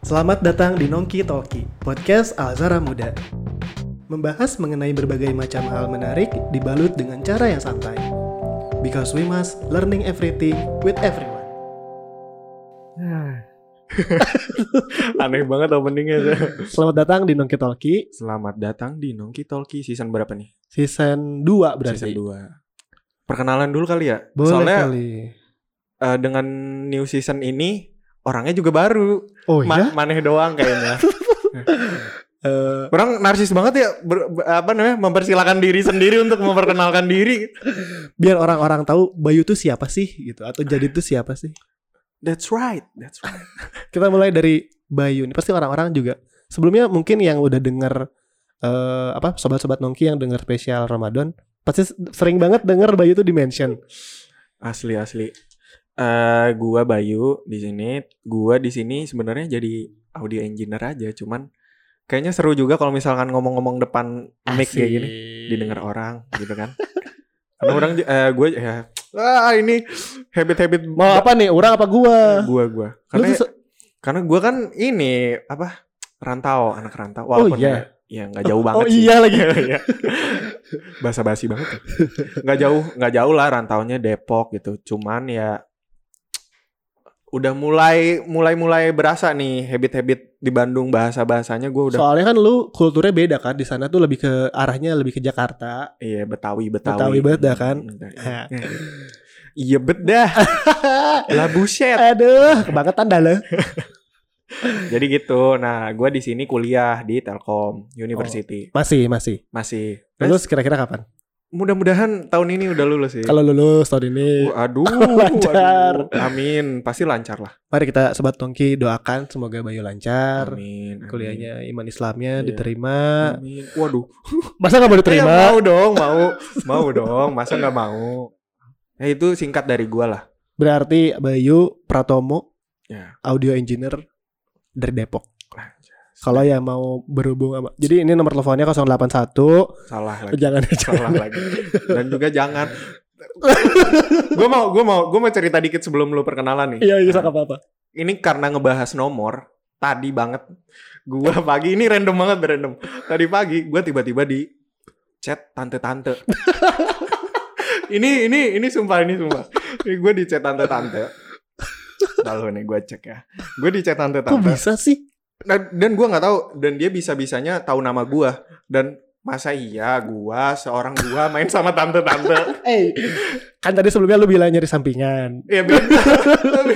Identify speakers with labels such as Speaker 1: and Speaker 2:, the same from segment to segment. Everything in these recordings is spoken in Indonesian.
Speaker 1: Selamat datang di Nongki Talki, podcast Alzara Muda. Membahas mengenai berbagai macam hal menarik dibalut dengan cara yang santai. Because we must learning everything with everyone.
Speaker 2: Aneh banget openingnya. Zah.
Speaker 1: Selamat datang di Nongki Talki,
Speaker 2: Selamat datang di Nongki Talki season berapa nih?
Speaker 1: season 2 berarti.
Speaker 2: Season 2. Perkenalan dulu kali ya.
Speaker 1: Boleh
Speaker 2: Soalnya
Speaker 1: kali.
Speaker 2: eh, dengan new season ini orangnya juga baru.
Speaker 1: Oh iya?
Speaker 2: Ma- Maneh doang kayaknya.
Speaker 1: Eh,
Speaker 2: Orang narsis banget ya ber- ber- apa namanya? mempersilahkan diri sendiri untuk memperkenalkan diri.
Speaker 1: biar orang-orang tahu Bayu tuh siapa sih gitu atau jadi tuh siapa sih.
Speaker 2: That's right. That's right.
Speaker 1: Kita mulai dari Bayu nih. Pasti orang-orang juga sebelumnya mungkin yang udah denger eh, apa sobat-sobat Nongki yang denger spesial Ramadan pasti sering banget denger Bayu tuh di mention.
Speaker 2: Asli asli. Eh gua Bayu di sini. Gua di sini sebenarnya jadi audio engineer aja, cuman kayaknya seru juga kalau misalkan ngomong-ngomong depan mic kayak gini
Speaker 1: Iya.
Speaker 2: didengar orang gitu kan. Karena orang eh gue ya ah ini habit-habit
Speaker 1: Mau apa nih? Orang apa gua?
Speaker 2: gua gua.
Speaker 1: Lu
Speaker 2: Karena
Speaker 1: tuh se-
Speaker 2: karena gua kan ini apa rantau, anak rantau walaupun
Speaker 1: iya.
Speaker 2: ya- ya nggak jauh banget
Speaker 1: oh
Speaker 2: sih.
Speaker 1: iya lagi.
Speaker 2: Iya. basa-basi banget tuh. nggak jauh nggak jauh lah rantaunya Depok gitu cuman ya udah mulai mulai mulai berasa nih habit-habit di Bandung bahasa bahasanya gue udah
Speaker 1: Soalnya kan lu kulturnya beda kan di sana tuh lebih ke arahnya lebih ke Jakarta.
Speaker 2: iya Betawi Betawi
Speaker 1: Betawi banget dah kan?
Speaker 2: Mm, dah, iya. iya bet dah lah buset
Speaker 1: Aduh, kebangetan dah lo.
Speaker 2: jadi gitu nah gue di sini kuliah di Telkom University
Speaker 1: Masih, masih.
Speaker 2: masih
Speaker 1: Lulus kira-kira kapan?
Speaker 2: mudah-mudahan tahun ini udah lulus sih
Speaker 1: Kalau lulus tahun ini.
Speaker 2: Uh, aduh,
Speaker 1: Lancar.
Speaker 2: aduh. amin pasti lancar lah
Speaker 1: Mari kita sobat Tongki doakan semoga Bayu lancar.
Speaker 2: amin, amin.
Speaker 1: Kuliahnya iman Islamnya
Speaker 2: Iya.
Speaker 1: diterima.
Speaker 2: Amin. Waduh.
Speaker 1: Masa nggak boleh
Speaker 2: Terima.
Speaker 1: terima?
Speaker 2: mau dong, mau. mau dong, masa nggak mau. Nah, itu singkat dari gua lah.
Speaker 1: Berarti Bayu Pratomo
Speaker 2: Ya. iya.
Speaker 1: audio engineer dari Depok. Kalau yang mau berhubung sama. Jadi ini nomor teleponnya 081.
Speaker 2: Salah lagi.
Speaker 1: Jangan
Speaker 2: Salah lagi. Dan juga jangan gue mau gue mau gue mau cerita dikit sebelum lu perkenalan nih. Nah,
Speaker 1: Iya, iya, sak apa-apa.
Speaker 2: Ini karena ngebahas nomor tadi banget gua pagi ini random banget random. Tadi pagi gua tiba-tiba di chat tante-tante. ini ini ini sumpah ini sumpah. Ini gue di chat tante-tante. Lalu nih gue cek ya. Gue di chat
Speaker 1: Kok
Speaker 2: tante-tante.
Speaker 1: bisa sih?
Speaker 2: Dan, dan gue nggak tahu dan dia bisa bisanya tahu nama gue dan masa iya gue seorang gue main sama tante-tante.
Speaker 1: Eh, kan tadi sebelumnya lu bilang nyari sampingan.
Speaker 2: ya beda. tapi,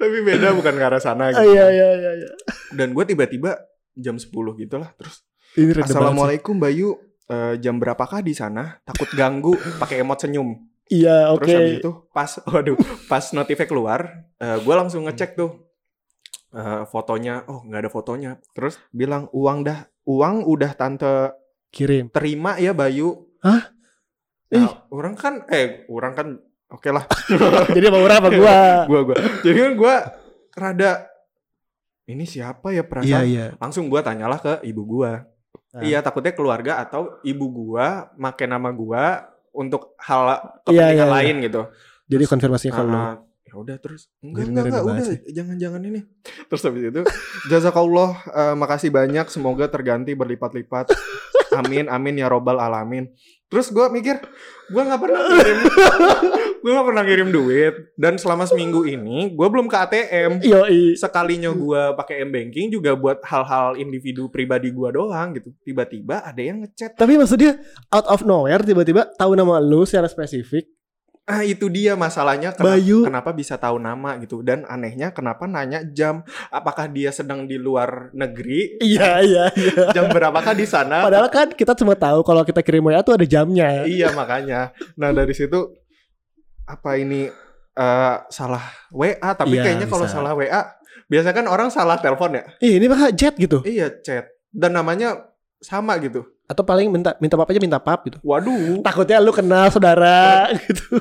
Speaker 2: tapi beda bukan ke arah sana
Speaker 1: Ah,
Speaker 2: gitu.
Speaker 1: iya, iya, iya, iya. Dan
Speaker 2: Dan gue tiba-tiba jam 10 gitu lah terus
Speaker 1: ini random banget sih.
Speaker 2: Assalamualaikum Bayu Eh, jam berapakah di sana? Takut ganggu pakai emot senyum.
Speaker 1: Iya, oke.
Speaker 2: Terus habis itu pas waduh pas notifnya keluar, gue langsung
Speaker 1: Hmm.
Speaker 2: ngecek tuh eh, fotonya. Oh nggak ada fotonya. Terus bilang uang dah uang udah tante
Speaker 1: Kirim.
Speaker 2: terima ya Bayu.
Speaker 1: Hah?
Speaker 2: Nah,
Speaker 1: Ih.
Speaker 2: orang kan eh orang kan oke lah.
Speaker 1: Jadi mau orang apa gua?
Speaker 2: gua gua. Jadi kan gua rada ini siapa ya perasaan?
Speaker 1: iya.
Speaker 2: Langsung gua tanyalah ke ibu gua.
Speaker 1: Ah.
Speaker 2: Iya, takutnya keluarga atau ibu gua make nama gua untuk hal
Speaker 1: Iya,
Speaker 2: kepentingan
Speaker 1: iya, iya.
Speaker 2: lain gitu.
Speaker 1: Jadi konfirmasinya kalau
Speaker 2: Ah, ya udah terus
Speaker 1: Dengerin
Speaker 2: enggak enggak enggak
Speaker 1: dulu
Speaker 2: udah jangan-jangan ini. Terus habis itu jazakallah eh, makasih banyak semoga terganti berlipat-lipat. Amin amin ya robbal alamin. Terus gua mikir gua nggak pernah ngirim gua nggak pernah ngirim duit dan selama seminggu ini gua belum ke ATM.
Speaker 1: Yo, Hmm.
Speaker 2: Sekalinya gua pakai M banking juga buat hal-hal individu pribadi gua doang gitu. Tiba-tiba ada yang ngechat.
Speaker 1: Tapi maksudnya out of nowhere tiba-tiba tahu nama lu secara spesifik.
Speaker 2: Ah itu dia masalahnya kenapa,
Speaker 1: Bayu.
Speaker 2: kenapa bisa tahu nama gitu dan anehnya kenapa nanya jam apakah dia sedang di luar negeri
Speaker 1: Iya, iya, iya.
Speaker 2: jam berapakah di sana
Speaker 1: Padahal kan kita cuma tahu kalau kita kirim WA tuh ada jamnya.
Speaker 2: iya makanya nah dari situ apa ini eh, salah WA tapi
Speaker 1: Iya,
Speaker 2: kayaknya kalau
Speaker 1: bisa.
Speaker 2: salah WA biasanya kan orang salah telepon ya
Speaker 1: Ih, ini mah jet gitu.
Speaker 2: iya chat dan namanya sama gitu
Speaker 1: Atau paling minta minta pap aja minta pap gitu.
Speaker 2: waduh
Speaker 1: Takutnya lu kenal saudara gitu.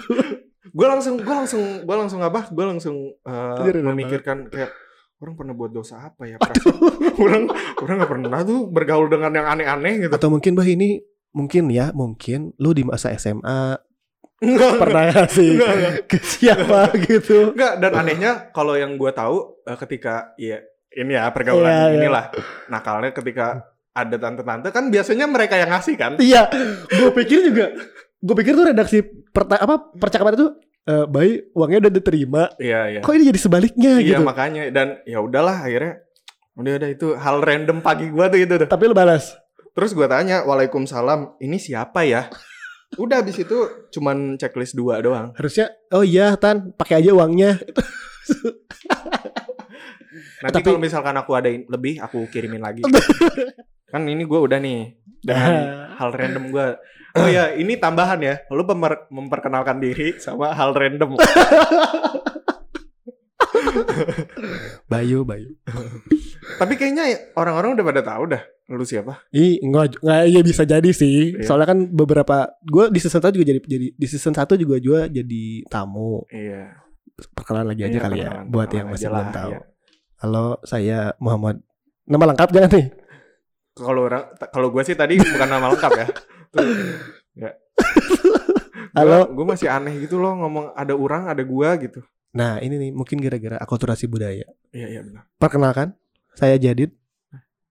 Speaker 2: gue langsung gue langsung gue langsung apa gue langsung eh,
Speaker 1: Jadi random
Speaker 2: memikirkan kayak orang pernah buat dosa apa ya perasaan orang orang nggak pernah tuh bergaul dengan yang aneh-aneh gitu
Speaker 1: Atau mungkin bah ini mungkin ya, mungkin lu di masa SMA
Speaker 2: enggak
Speaker 1: pernah ngasih
Speaker 2: enggak, enggak.
Speaker 1: ke siapa gitu.
Speaker 2: Enggak, dan anehnya kalau yang gue tahu eh, ketika ya ini ya pergaulan
Speaker 1: Iya, iya.
Speaker 2: inilah. Nakalnya ketika ada tante-tante kan biasanya mereka yang ngasih kan.
Speaker 1: Iya, gue pikir juga. Gue pikir tuh redaksi perta- apa percakapan itu eh baik uangnya udah diterima.
Speaker 2: Iya iya.
Speaker 1: Kok ini jadi sebaliknya
Speaker 2: Iya
Speaker 1: gitu?
Speaker 2: makanya dan ya udahlah akhirnya udah udah itu hal random pagi gua tuh itu tuh.
Speaker 1: Tapi lu balas.
Speaker 2: Terus gua tanya, "Waalaikumsalam, ini siapa ya?" Udah habis itu cuman checklist dua doang.
Speaker 1: Harusnya oh iya Tan, pakai aja uangnya.
Speaker 2: Nanti
Speaker 1: Tapi-
Speaker 2: kalau misalkan aku ada in- lebih, aku kirimin lagi. kan ini gua udah nih dengan
Speaker 1: Nah,
Speaker 2: hal random gua. Oh ya, ini tambahan ya. Lu pemer- memperkenalkan diri sama hal random.
Speaker 1: Bayu, Bayu.
Speaker 2: Tapi kayaknya ya, orang-orang udah pada tahu dah lu siapa.
Speaker 1: Ih, enggak, enggak iya bisa jadi sih.
Speaker 2: Iya.
Speaker 1: Soalnya kan beberapa gue di season 1 juga jadi jadi di season 1 juga gue jadi tamu.
Speaker 2: Iya.
Speaker 1: Perkenalan lagi aja
Speaker 2: Iya,
Speaker 1: kali ya
Speaker 2: perkenalan-
Speaker 1: buat yang
Speaker 2: perkenalan
Speaker 1: masih
Speaker 2: aja
Speaker 1: belum
Speaker 2: lah,
Speaker 1: tahu.
Speaker 2: iya.
Speaker 1: Halo, saya Muhammad. Nama lengkap jangan nih.
Speaker 2: Kalau orang ta- kalau gua sih tadi bukan nama lengkap ya.
Speaker 1: Halo.
Speaker 2: Gue masih aneh gitu loh ngomong ada orang, ada gua gitu.
Speaker 1: Nah, ini nih mungkin gara-gara akulturasi budaya.
Speaker 2: Iya, iya benar.
Speaker 1: Perkenalkan, saya Jadid.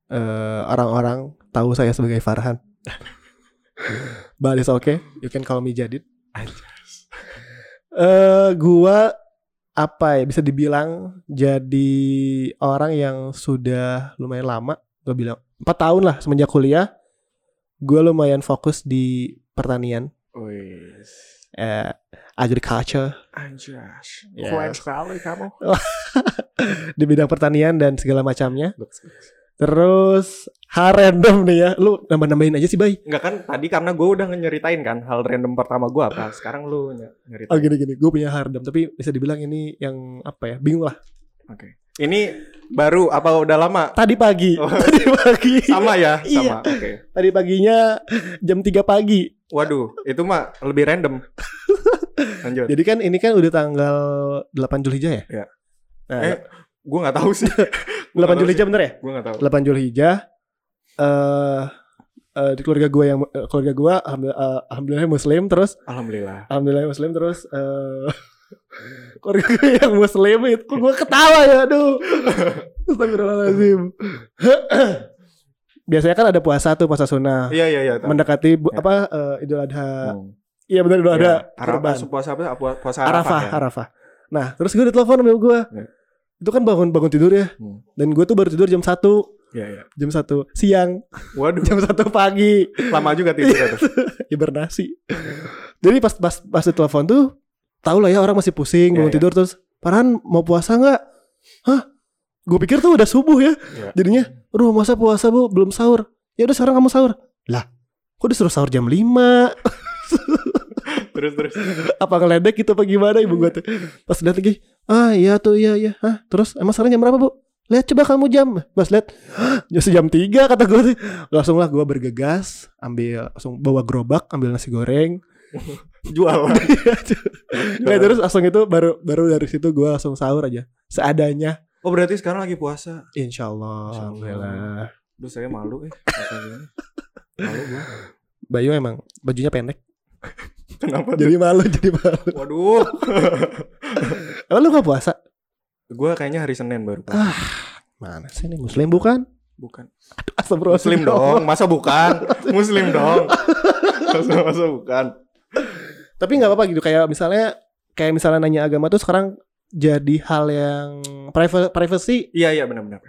Speaker 1: Eh, Orang-orang tahu saya sebagai Farhan. But it's okay, you can call me Jadid. Eh, gua apa ya bisa dibilang jadi orang yang sudah lumayan lama, gue bilang 4 tahun lah semenjak kuliah. Gue lumayan fokus di pertanian,
Speaker 2: Wis.
Speaker 1: eh, agriculture,
Speaker 2: Anjas.
Speaker 1: Yes.
Speaker 2: Keren sekali kamu.
Speaker 1: di bidang pertanian dan segala macamnya. Terus hal random nih ya, lu nambah-nambahin aja sih bay.
Speaker 2: Enggak kan tadi karena gue udah nyeritain kan hal random pertama gua apa. Sekarang lu ny- nyeritain.
Speaker 1: Oh gini-gini, gue punya hal random tapi bisa dibilang ini yang apa ya, bingung lah.
Speaker 2: Oke. Ini baru apa udah lama?
Speaker 1: Tadi pagi,
Speaker 2: Oh.
Speaker 1: tadi pagi,
Speaker 2: Sama ya,
Speaker 1: Iya.
Speaker 2: sama. Oke.
Speaker 1: tadi paginya jam 3 pagi.
Speaker 2: Waduh, itu mah lebih random. Lanjut.
Speaker 1: Jadi kan ini kan udah tanggal 8 Julhijjah ya?
Speaker 2: Iya.
Speaker 1: Nah,
Speaker 2: Eh, gue nggak tahu sih.
Speaker 1: 8 Julhijjah bener ya?
Speaker 2: Gue nggak tahu.
Speaker 1: 8 Julhijjah eh eh, di keluarga gue yang eh, keluarga gue alhamdulillah, eh, alhamdulillah muslim terus
Speaker 2: Alhamdulillah.
Speaker 1: alhamdulillah ya, muslim terus eh keluarga gue yang muslim itu kok gue ketawa ya aduh Astagfirullahaladzim biasanya kan ada puasa tuh puasa sunnah
Speaker 2: Iya iya iya. tahu.
Speaker 1: mendekati bu-
Speaker 2: Ya.
Speaker 1: apa eh, idul adha
Speaker 2: Hmm.
Speaker 1: iya benar idul adha
Speaker 2: Iya. Arafah
Speaker 1: kurban.
Speaker 2: puasa apa? Puasa- Puasa
Speaker 1: arafah arafah,
Speaker 2: ya?
Speaker 1: nah terus gue ditelepon sama gue
Speaker 2: Ya.
Speaker 1: itu kan bangun bangun tidur ya
Speaker 2: Hmm.
Speaker 1: dan gue tuh baru tidur jam 1
Speaker 2: Iya iya.
Speaker 1: jam 1 siang
Speaker 2: Waduh,
Speaker 1: jam 1 pagi
Speaker 2: lama juga ya, tidurnya tuh.
Speaker 1: hibernasi. Jadi pas pas pas di telepon tuh tahu lah ya orang masih pusing
Speaker 2: Iya,
Speaker 1: bangun
Speaker 2: iya.
Speaker 1: tidur terus Farhan mau puasa nggak? Hah? Gue pikir tuh udah subuh ya.
Speaker 2: Iya.
Speaker 1: Jadinya, aduh masa puasa bu belum sahur. Ya udah sekarang kamu sahur. Lah, kok disuruh sahur jam 5
Speaker 2: Terus terus.
Speaker 1: Apa ngeledek gitu apa gimana ibu gue tuh? Pas lihat lagi, ah iya tuh iya iya. Hah? Terus emang sekarang jam berapa bu? Lihat coba kamu jam. Pas lihat, "Hah, justru jam 3 kata gue tuh. Langsung lah gue bergegas, ambil langsung bawa gerobak, ambil nasi goreng,
Speaker 2: Jual.
Speaker 1: Nah, terus langsung itu baru baru dari situ gue langsung sahur aja seadanya.
Speaker 2: Oh berarti sekarang lagi puasa.
Speaker 1: Insya Allah.
Speaker 2: Insya Allah.
Speaker 1: Alhamdulillah.
Speaker 2: Duh saya malu eh. Makan gini. Malu gue.
Speaker 1: Bayu emang bajunya pendek.
Speaker 2: Kenapa tuh?
Speaker 1: jadi malu, jadi malu.
Speaker 2: Waduh.
Speaker 1: Emang lu gak puasa?
Speaker 2: gue kayaknya hari Senin baru. puasa.
Speaker 1: Ah, mana sih ini muslim bukan?
Speaker 2: Bukan.
Speaker 1: Astagfirullah.
Speaker 2: Muslim dong. Masa bukan? Muslim dong. Masa masa bukan.
Speaker 1: Tapi nggak apa-apa gitu. Kayak misalnya, kayak misalnya nanya agama tuh sekarang jadi hal yang priva- privacy.
Speaker 2: Iya iya benar-benar.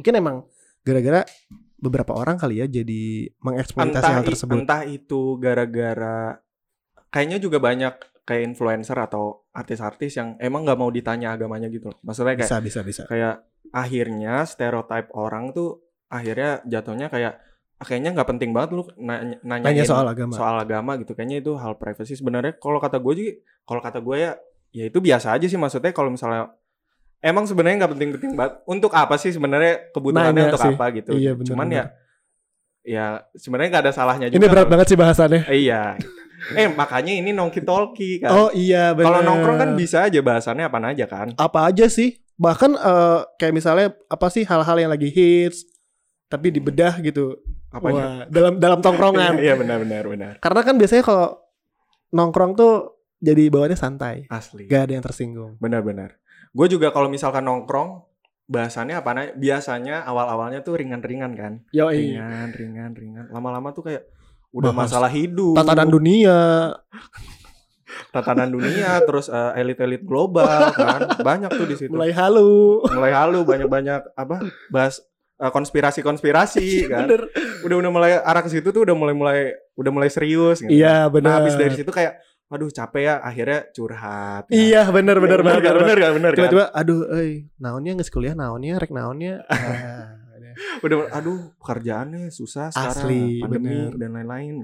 Speaker 1: Mungkin emang gara-gara beberapa orang kali ya jadi mengeksploitasi
Speaker 2: entah
Speaker 1: hal
Speaker 2: i-
Speaker 1: tersebut.
Speaker 2: entah itu gara-gara kayaknya juga banyak kayak influencer atau artis-artis yang emang nggak mau ditanya agamanya gitu loh. Maksudnya kayak
Speaker 1: Bisa, bisa, bisa.
Speaker 2: kayak akhirnya stereotype orang tuh akhirnya jatuhnya kayak "Ah, kayaknya nggak penting banget lu nanya, nanyain
Speaker 1: Nanya soal agama.
Speaker 2: soal agama gitu. Kayaknya itu hal privacy sebenarnya kalau kata gue juga kalau kata gue ya ya itu biasa aja sih maksudnya kalau misalnya emang sebenarnya nggak penting-penting banget. Untuk apa sih sebenarnya kebutuhannya
Speaker 1: Nanya
Speaker 2: untuk
Speaker 1: sih.
Speaker 2: apa gitu.
Speaker 1: Iya, bener,
Speaker 2: Cuman
Speaker 1: bener.
Speaker 2: ya ya sebenarnya nggak ada salahnya juga.
Speaker 1: ini berat
Speaker 2: kalau-
Speaker 1: banget sih bahasannya.
Speaker 2: Eh, Iya. eh makanya ini nongki tolki kan.
Speaker 1: Oh iya benar.
Speaker 2: kalau nongkrong kan bisa aja bahasannya apa aja kan.
Speaker 1: apa aja sih bahkan eh, kayak misalnya apa sih hal-hal yang lagi hits tapi dibedah gitu
Speaker 2: Apa aja.
Speaker 1: Wah, dalam dalam tongkrongan
Speaker 2: Iya benar benar benar.
Speaker 1: karena kan biasanya kalau nongkrong tuh jadi bawaannya santai
Speaker 2: Asli.
Speaker 1: gak ada yang tersinggung
Speaker 2: Benar-benar. Gue juga kalau misalkan nongkrong, bahasannya apa nah, biasanya awal-awalnya tuh ringan-ringan kan
Speaker 1: Yo,
Speaker 2: ringan ringan ringan lama-lama tuh kayak udah
Speaker 1: Iya. Bahas
Speaker 2: masalah hidup
Speaker 1: tatanan dunia.
Speaker 2: tatanan dunia terus eh, elit-elit global kan banyak tuh di situ mulai,
Speaker 1: Mulai halu.
Speaker 2: halu banyak-banyak apa bahas eh, konspirasi-konspirasi kan
Speaker 1: Bener.
Speaker 2: udah udah mulai arah ke situ tuh udah mulai mulai udah mulai serius gitu.
Speaker 1: Iya, bener.
Speaker 2: Nah, habis dari situ kayak waduh capek ya akhirnya curhat.
Speaker 1: Iya, bener bener
Speaker 2: benar
Speaker 1: bener. bener.
Speaker 2: benar bener kan bener kan.
Speaker 1: Tiba-tiba aduh euy, naonnya geus kuliah naonnya, rek naonnya. Ah,
Speaker 2: Udah aduh pekerjaannya susah sekarang
Speaker 1: Asli,
Speaker 2: pandemi
Speaker 1: bener.
Speaker 2: dan lain-lain.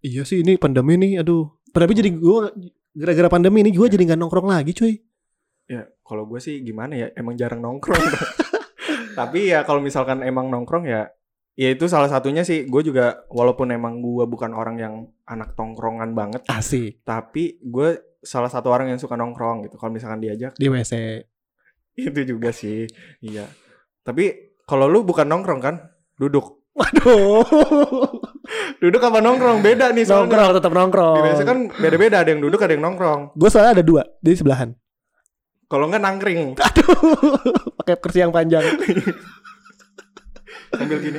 Speaker 1: iya sih ini pandemi nih, aduh. Pandemi jadi gua gara-gara pandemi ini gua jadi nggak nongkrong lagi, cuy.
Speaker 2: Ya, kalau gue sih gimana ya emang jarang nongkrong. Tapi ya kalau misalkan emang nongkrong ya ya itu salah satunya sih gue juga walaupun emang gue bukan orang yang anak tongkrongan banget
Speaker 1: Asik
Speaker 2: tapi gue salah satu orang yang suka nongkrong gitu kalau misalkan diajak
Speaker 1: di WC.
Speaker 2: itu juga sih iya tapi kalau lu bukan nongkrong kan duduk
Speaker 1: Waduh.
Speaker 2: duduk apa nongkrong beda nih soalnya
Speaker 1: nongkrong tetap nongkrong.
Speaker 2: di WC kan beda-beda ada yang duduk ada yang nongkrong
Speaker 1: Gue soalnya ada dua di sebelahan.
Speaker 2: kalau nggak nangkring
Speaker 1: Pakai kursi yang panjang.
Speaker 2: sambil gini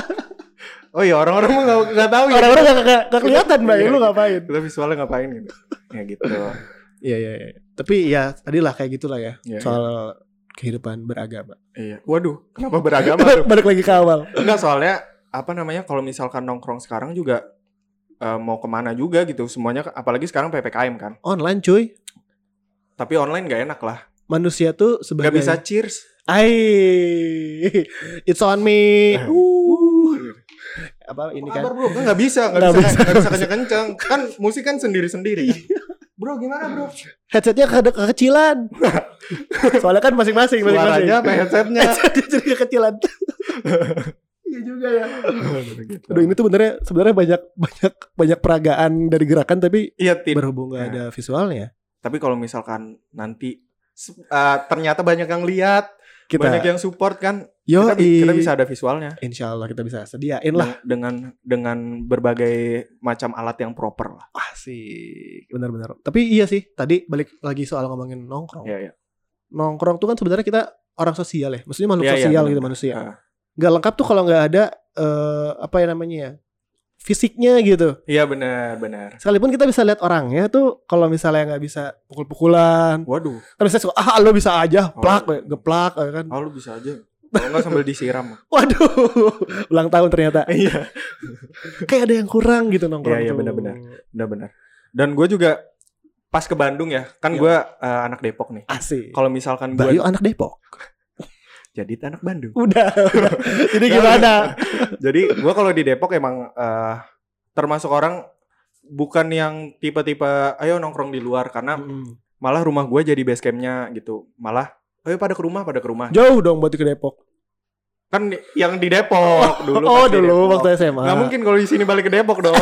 Speaker 2: oh iya orang-orang mah nggak- nggak tahu ya
Speaker 1: Orang-orang gak, gak, gak kelihatan, Bay. Lu ngapain?
Speaker 2: kita visualnya ngapain gitu ya gitu
Speaker 1: Iya, iya, iya. Tapi ya tadilah kayak gitulah ya.
Speaker 2: Iya,
Speaker 1: soal kehidupan beragama.
Speaker 2: iya waduh kenapa beragama tuh
Speaker 1: Balik lagi ke awal.
Speaker 2: Enggak soalnya apa namanya kalau misalkan nongkrong sekarang juga eh, mau kemana juga gitu semuanya apalagi sekarang ppkm kan
Speaker 1: Online, cuy.
Speaker 2: tapi online nggak enak lah
Speaker 1: Manusia tuh sebagai
Speaker 2: nggak bisa cheers
Speaker 1: Ai, it's on me.
Speaker 2: Eh.
Speaker 1: Uh. Apa ini kan?
Speaker 2: Apa kabar, bro Kan nggak bisa nggak
Speaker 1: Nggak
Speaker 2: bisa nggak bisa kenceng kenceng kan musik kan sendiri sendiri bro gimana bro
Speaker 1: Headsetnya ke kekecilan. Soalnya kan masing-masing, masing-masing.
Speaker 2: suaranya apa headsetnya
Speaker 1: Headsetnya jadi kekecilan. Iya juga ya.
Speaker 2: Gitu.
Speaker 1: Aduh ini tuh benernya sebenarnya banyak banyak banyak peragaan dari gerakan tapi
Speaker 2: iya Tin.
Speaker 1: berhubung gak ada visualnya
Speaker 2: tapi kalau misalkan nanti se- eh, ternyata banyak yang lihat
Speaker 1: kita
Speaker 2: banyak yang support kan
Speaker 1: yo
Speaker 2: kita, bi- kita bisa Iya. ada visualnya
Speaker 1: Insya Allah kita bisa sediain lah
Speaker 2: dengan dengan berbagai macam alat yang proper lah
Speaker 1: asik benar-benar tapi iya sih tadi balik lagi soal ngomongin nongkrong
Speaker 2: ya ya
Speaker 1: nongkrong tuh kan sebenarnya kita orang sosial ya maksudnya makhluk
Speaker 2: Iya, iya,
Speaker 1: sosial
Speaker 2: benar.
Speaker 1: gitu manusia
Speaker 2: Heeh.
Speaker 1: nggak lengkap tuh kalau nggak ada eh, apa ya namanya ya fisiknya gitu
Speaker 2: iya benar benar
Speaker 1: sekalipun kita bisa lihat orangnya tuh kalau misalnya nggak bisa pukul-pukulan
Speaker 2: waduh
Speaker 1: kan bisa suka ah lo bisa aja
Speaker 2: Oh.
Speaker 1: plak geplak ya kan
Speaker 2: ah, lu bisa aja kalau nggak sambil disiram
Speaker 1: Waduh, ulang tahun ternyata.
Speaker 2: iya
Speaker 1: Kayak ada yang kurang gitu nongkrong.
Speaker 2: Iya, iya,
Speaker 1: tuh.
Speaker 2: benar-benar. benar benar dan gue juga pas ke Bandung ya kan
Speaker 1: Iya.
Speaker 2: gue eh, anak Depok nih
Speaker 1: Asik.
Speaker 2: kalau misalkan
Speaker 1: Bayu
Speaker 2: gue
Speaker 1: anak Depok.
Speaker 2: jadi anak Bandung
Speaker 1: Udah. udah. Jadi gimana?
Speaker 2: jadi gue kalau di Depok emang eh, termasuk orang bukan yang tipe-tipe ayo nongkrong di luar karena
Speaker 1: Mm.
Speaker 2: malah rumah gue jadi base campnya gitu malah ayo pada ke rumah pada ke rumah
Speaker 1: Jauh dong buat ke Depok.
Speaker 2: kan di- yang di Depok dulu
Speaker 1: oh,
Speaker 2: pas di
Speaker 1: dulu
Speaker 2: Depok.
Speaker 1: waktu SMA.
Speaker 2: nggak mungkin kalau di sini balik ke Depok dong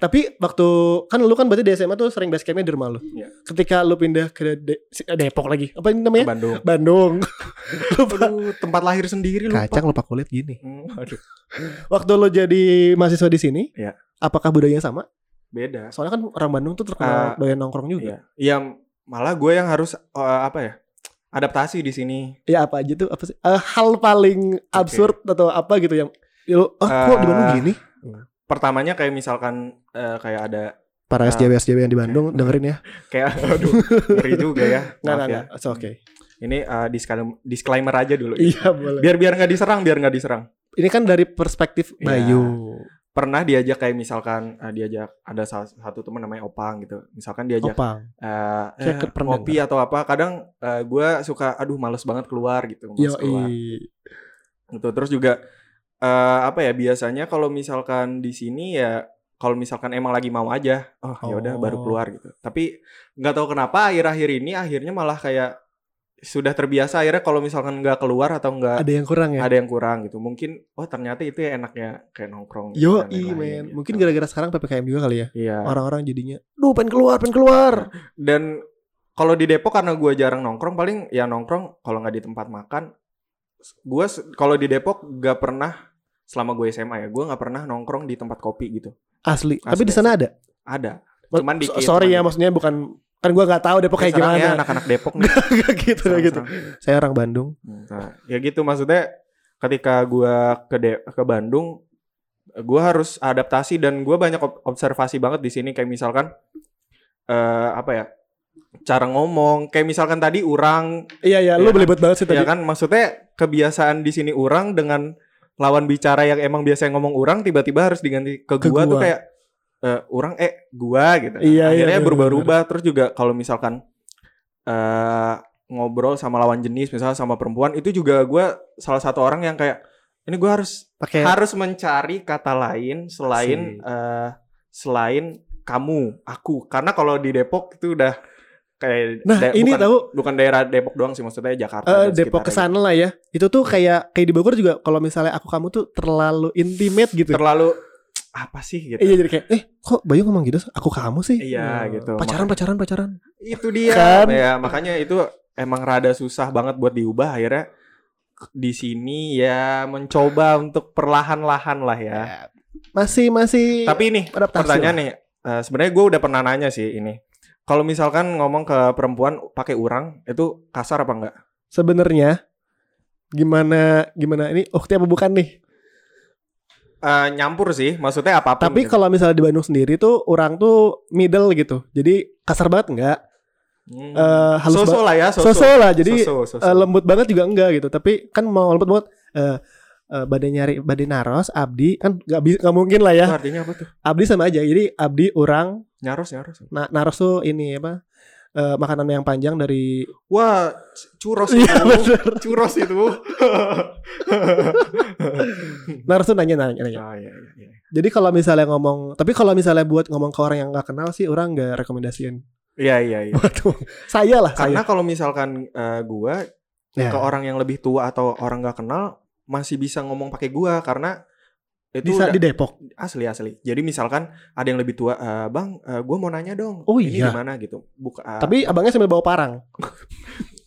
Speaker 1: Tapi waktu kan lu kan berarti di SMA tuh sering basecampnya di rumah lu.
Speaker 2: Iya.
Speaker 1: Ketika lu pindah ke De- si- eh, Depok lagi. Apa ini namanya?
Speaker 2: Bandung
Speaker 1: Bandung. lupa.
Speaker 2: Aduh, tempat lahir sendiri lupa.
Speaker 1: Kacang lupa kulit gini.
Speaker 2: Hmm, aduh.
Speaker 1: Waktu lu jadi mahasiswa di sini,
Speaker 2: Iya.
Speaker 1: apakah budayanya sama?
Speaker 2: Beda.
Speaker 1: Soalnya kan orang Bandung tuh terkenal
Speaker 2: Ah,
Speaker 1: doyan nongkrong juga.
Speaker 2: Iya. Ya malah gue yang harus eh, apa ya? Adaptasi di sini.
Speaker 1: ya apa aja tuh apa sih Eh, hal paling absurd atau apa gitu yang ya lo ah kok di Bandung
Speaker 2: Eh,
Speaker 1: gini
Speaker 2: Pertamanya kayak misalkan eh, kayak ada
Speaker 1: para
Speaker 2: eh,
Speaker 1: SJW SJW yang di Bandung dengerin ya
Speaker 2: kayak aduh ngeri juga ya.
Speaker 1: nggak
Speaker 2: Maaf
Speaker 1: nggak
Speaker 2: ya.
Speaker 1: nggak It's okay
Speaker 2: Ini eh, disclaimer, disclaimer aja dulu.
Speaker 1: iya boleh
Speaker 2: Biar biar nggak diserang, biar nggak diserang.
Speaker 1: ini kan dari perspektif
Speaker 2: Iya.
Speaker 1: Bayu
Speaker 2: Pernah diajak kayak misalkan eh, diajak ada salah satu teman namanya Opang gitu. Misalkan diajak
Speaker 1: opang
Speaker 2: eh,
Speaker 1: Saya
Speaker 2: eh,
Speaker 1: Oh. pernah
Speaker 2: ngopi atau apa. Kadang eh, gue suka aduh males banget keluar gitu.
Speaker 1: yo
Speaker 2: males keluar. Gitu. Terus juga eh, apa ya biasanya kalau misalkan di sini ya kalau misalkan emang lagi mau aja, oh, ya udah
Speaker 1: Oh.
Speaker 2: baru keluar gitu. Tapi nggak tahu kenapa akhir-akhir ini akhirnya malah kayak sudah terbiasa akhirnya kalau misalkan nggak keluar atau nggak
Speaker 1: ada yang kurang ya
Speaker 2: ada yang kurang gitu. Mungkin oh ternyata itu ya enaknya kayak nongkrong. gitu,
Speaker 1: yo i
Speaker 2: dan lain-lain
Speaker 1: men
Speaker 2: gitu.
Speaker 1: mungkin gara-gara sekarang ppkm juga kali ya
Speaker 2: Iya.
Speaker 1: orang-orang jadinya duh pengen keluar pengen keluar
Speaker 2: Dan kalau di Depok karena gue jarang nongkrong, paling ya nongkrong kalau nggak di tempat makan. Gue kalau di Depok nggak pernah selama gue SMA ya, gue nggak pernah nongkrong di tempat kopi gitu.
Speaker 1: asli tapi
Speaker 2: Asli,
Speaker 1: di sana ada
Speaker 2: Ada.
Speaker 1: Ma- so-
Speaker 2: Cuman dikit,
Speaker 1: sorry
Speaker 2: cuman
Speaker 1: ya
Speaker 2: dikit.
Speaker 1: maksudnya bukan kan gua nggak tahu deh pokoknya
Speaker 2: Sekarang
Speaker 1: gimana
Speaker 2: ya anak-anak Depok nih.
Speaker 1: gitu
Speaker 2: Serang,
Speaker 1: gitu
Speaker 2: serang.
Speaker 1: saya orang Bandung
Speaker 2: Nah, ya gitu maksudnya ketika gua ke De- ke Bandung gua harus adaptasi dan gua banyak ob- observasi banget di sini kayak misalkan eh apa ya? cara ngomong kayak misalkan tadi orang
Speaker 1: iya iya lu
Speaker 2: Iya.
Speaker 1: belibet banget sih tadi
Speaker 2: ya kan maksudnya kebiasaan di sini orang dengan lawan bicara yang emang biasa ngomong orang tiba-tiba harus diganti ke
Speaker 1: Ke
Speaker 2: gua, tuh
Speaker 1: gua.
Speaker 2: kayak eh, orang eh gua gitu.
Speaker 1: Iya, iya,
Speaker 2: Akhirnya
Speaker 1: bener,
Speaker 2: berubah-ubah terus juga kalau misalkan eh ngobrol sama lawan jenis misalnya sama perempuan itu juga gua salah satu orang yang kayak ini gua harus
Speaker 1: pakai
Speaker 2: harus mencari kata lain
Speaker 1: Si-
Speaker 2: selain eh, selain kamu, aku. Karena kalau di Depok itu udah kayak
Speaker 1: nah
Speaker 2: da-
Speaker 1: ini
Speaker 2: bukan-
Speaker 1: tahu
Speaker 2: bukan daerah Depok doang sih maksudnya Jakarta
Speaker 1: eh,
Speaker 2: dan
Speaker 1: Depok
Speaker 2: sekitarnya. gitu.
Speaker 1: kesana lah ya itu tuh
Speaker 2: Iya.
Speaker 1: kayak kayak di Bogor juga kalau misalnya aku kamu tuh terlalu intimate gitu
Speaker 2: terlalu apa sih gitu
Speaker 1: Iya jadi kayak eh kok Bayu ngomong gitu aku kamu sih
Speaker 2: Iya,
Speaker 1: Hmm.
Speaker 2: gitu.
Speaker 1: pacaran pacaran pacaran
Speaker 2: itu dia
Speaker 1: Kan?
Speaker 2: ya makanya itu emang rada susah banget buat diubah akhirnya di sini ya mencoba untuk perlahan-lahan lah ya
Speaker 1: masih masih
Speaker 2: tapi ini
Speaker 1: adaptasi
Speaker 2: pertanyaan
Speaker 1: lah.
Speaker 2: nih eh, sebenarnya gue udah pernah nanya sih ini kalau misalkan ngomong ke perempuan pakai urang itu kasar apa enggak
Speaker 1: sebenarnya gimana gimana ini ukti apa bukan nih
Speaker 2: Eh, nyampur sih maksudnya apapun
Speaker 1: Tapi
Speaker 2: gitu.
Speaker 1: kalau misalnya di Bandung sendiri tuh orang tuh middle gitu. Jadi kasar banget enggak?
Speaker 2: Hmm.
Speaker 1: Eh, halus
Speaker 2: Soso
Speaker 1: banget.
Speaker 2: lah ya soso
Speaker 1: Soso lah. Jadi
Speaker 2: Soso, soso.
Speaker 1: eh, lembut banget juga enggak gitu. Tapi kan mau lembut banget eh eh, badai nyari badai naros Abdi kan nggak bisa nggak mungkin lah ya
Speaker 2: Itu artinya apa tuh
Speaker 1: Abdi sama aja jadi Abdi orang
Speaker 2: nyaros nyaros
Speaker 1: na- naros tuh ini apa eh, makanan yang panjang dari
Speaker 2: wah curos
Speaker 1: Iya,
Speaker 2: itu curos itu.
Speaker 1: naros tuh nanya nanya, nanya.
Speaker 2: Ah, iya, iya, iya.
Speaker 1: jadi kalau misalnya ngomong tapi kalau misalnya buat ngomong ke orang yang nggak kenal sih orang nggak rekomendasiin
Speaker 2: Iya, iya, iya.
Speaker 1: Waduh, saya lah saya
Speaker 2: Karena kalau misalkan eh, gua
Speaker 1: Ya.
Speaker 2: ke orang yang lebih tua atau orang gak kenal masih bisa ngomong pakai gua karena itu
Speaker 1: bisa
Speaker 2: udah-
Speaker 1: di Depok
Speaker 2: asli asli. Jadi misalkan ada yang lebih tua, "Eh, "Bang, eh, gua mau nanya dong.
Speaker 1: Oh,
Speaker 2: ini
Speaker 1: iya.
Speaker 2: gimana gitu?" Buka eh,
Speaker 1: tapi abangnya sambil bawa parang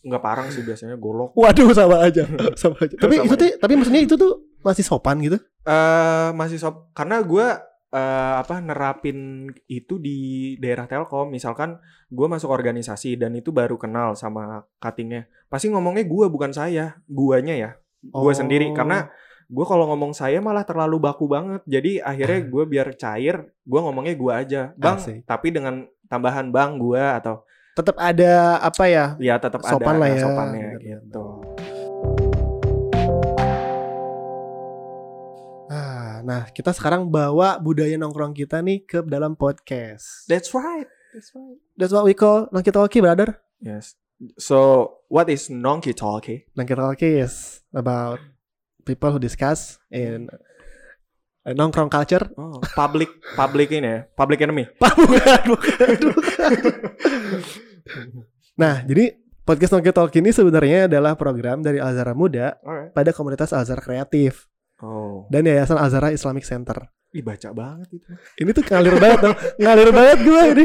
Speaker 2: nggak parang sih biasanya golok.
Speaker 1: Waduh sama aja, sama aja. Tapi
Speaker 2: Sama
Speaker 1: itu tuh, tapi maksudnya itu tuh masih sopan gitu.
Speaker 2: eh masih sob karena gua eh, apa nerapin itu di daerah Telkom misalkan gua masuk organisasi dan itu baru kenal sama cuttingnya pasti ngomongnya gua bukan saya guanya ya gua
Speaker 1: Oh.
Speaker 2: sendiri karena gua kalau ngomong saya malah terlalu baku banget jadi akhirnya gua biar cair gua ngomongnya gua aja bang
Speaker 1: Eh. Asik.
Speaker 2: tapi dengan tambahan bang gua atau
Speaker 1: Tetap ada apa ya?
Speaker 2: ya tetap
Speaker 1: Sopan
Speaker 2: ada
Speaker 1: lah
Speaker 2: eh,
Speaker 1: ya,
Speaker 2: sopannya
Speaker 1: bener-bener.
Speaker 2: gitu
Speaker 1: Ah, nah kita sekarang bawa budaya nongkrong kita nih ke dalam podcast.
Speaker 2: that's right that's right
Speaker 1: That's what we call nongki talkie, brother.
Speaker 2: yes so what is nongki talkie
Speaker 1: Nongki talkie is about people who discuss in uh, nongkrong culture.
Speaker 2: Oh, public public ini ya, public enemy.
Speaker 1: bukan, bukan, bukan. nah, jadi podcast nongki talkie ini sebenarnya adalah program dari Alzara Muda
Speaker 2: Alright.
Speaker 1: pada komunitas Alzara Kreatif.
Speaker 2: Oh,
Speaker 1: dan Yayasan Azhara Islamic Center.
Speaker 2: dibaca banget itu.
Speaker 1: Ini tuh ngalir banget, dong. ngalir banget gue ini.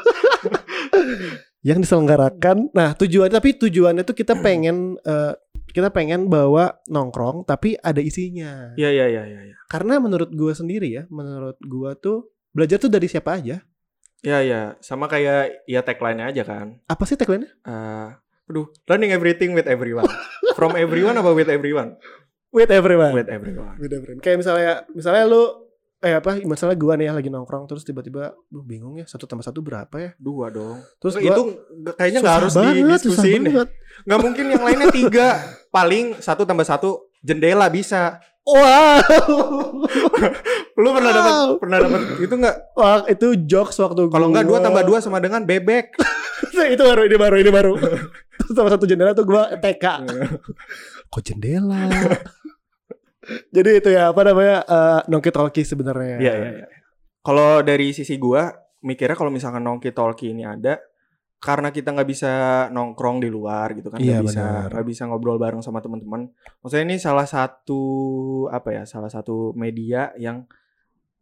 Speaker 1: yang diselenggarakan. Nah, tujuannya tapi tujuannya tuh kita pengen eh, kita pengen bawa nongkrong tapi ada isinya.
Speaker 2: Iya iya iya iya.
Speaker 1: Karena menurut gue sendiri ya, menurut gue tuh belajar tuh dari siapa aja.
Speaker 2: Iya iya, sama kayak ya tagline aja kan.
Speaker 1: Apa sih tagline-nya?
Speaker 2: Eh, aduh, learning everything with everyone. From everyone apa with everyone?
Speaker 1: With everyone.
Speaker 2: With everyone.
Speaker 1: Beda brand. Kayak misalnya misalnya lu eh apa misalnya gua nih ya lagi nongkrong terus tiba-tiba "Duh, bingung ya satu tambah satu berapa ya
Speaker 2: Dua dong.
Speaker 1: terus gua-
Speaker 2: Terus itu nggak- kayaknya nggak
Speaker 1: susah
Speaker 2: harus
Speaker 1: banget, susah
Speaker 2: didiskusiin. deh.
Speaker 1: banget.
Speaker 2: Nggak mungkin yang lainnya tiga. Paling satu tambah satu jendela bisa.
Speaker 1: Wow.
Speaker 2: Lu pernah dapat
Speaker 1: Wow.
Speaker 2: pernah dapat itu nggak?
Speaker 1: Wah, itu jokes waktu
Speaker 2: Kalau
Speaker 1: gua.
Speaker 2: nggak dua tambah dua sama dengan bebek.
Speaker 1: itu baru ini baru ini baru. Terus sama satu jendela tuh gua TK. Kok jendela? Jadi itu ya apa namanya eh nongki tolki sebenarnya.
Speaker 2: Iya iya iya. Kalau dari sisi gua mikirnya kalau misalkan nongki tolki ini ada karena kita nggak bisa nongkrong di luar gitu kan nggak
Speaker 1: Iya,
Speaker 2: bisa
Speaker 1: benar.
Speaker 2: nggak bisa ngobrol bareng sama teman-teman. Maksudnya ini salah satu apa ya salah satu media yang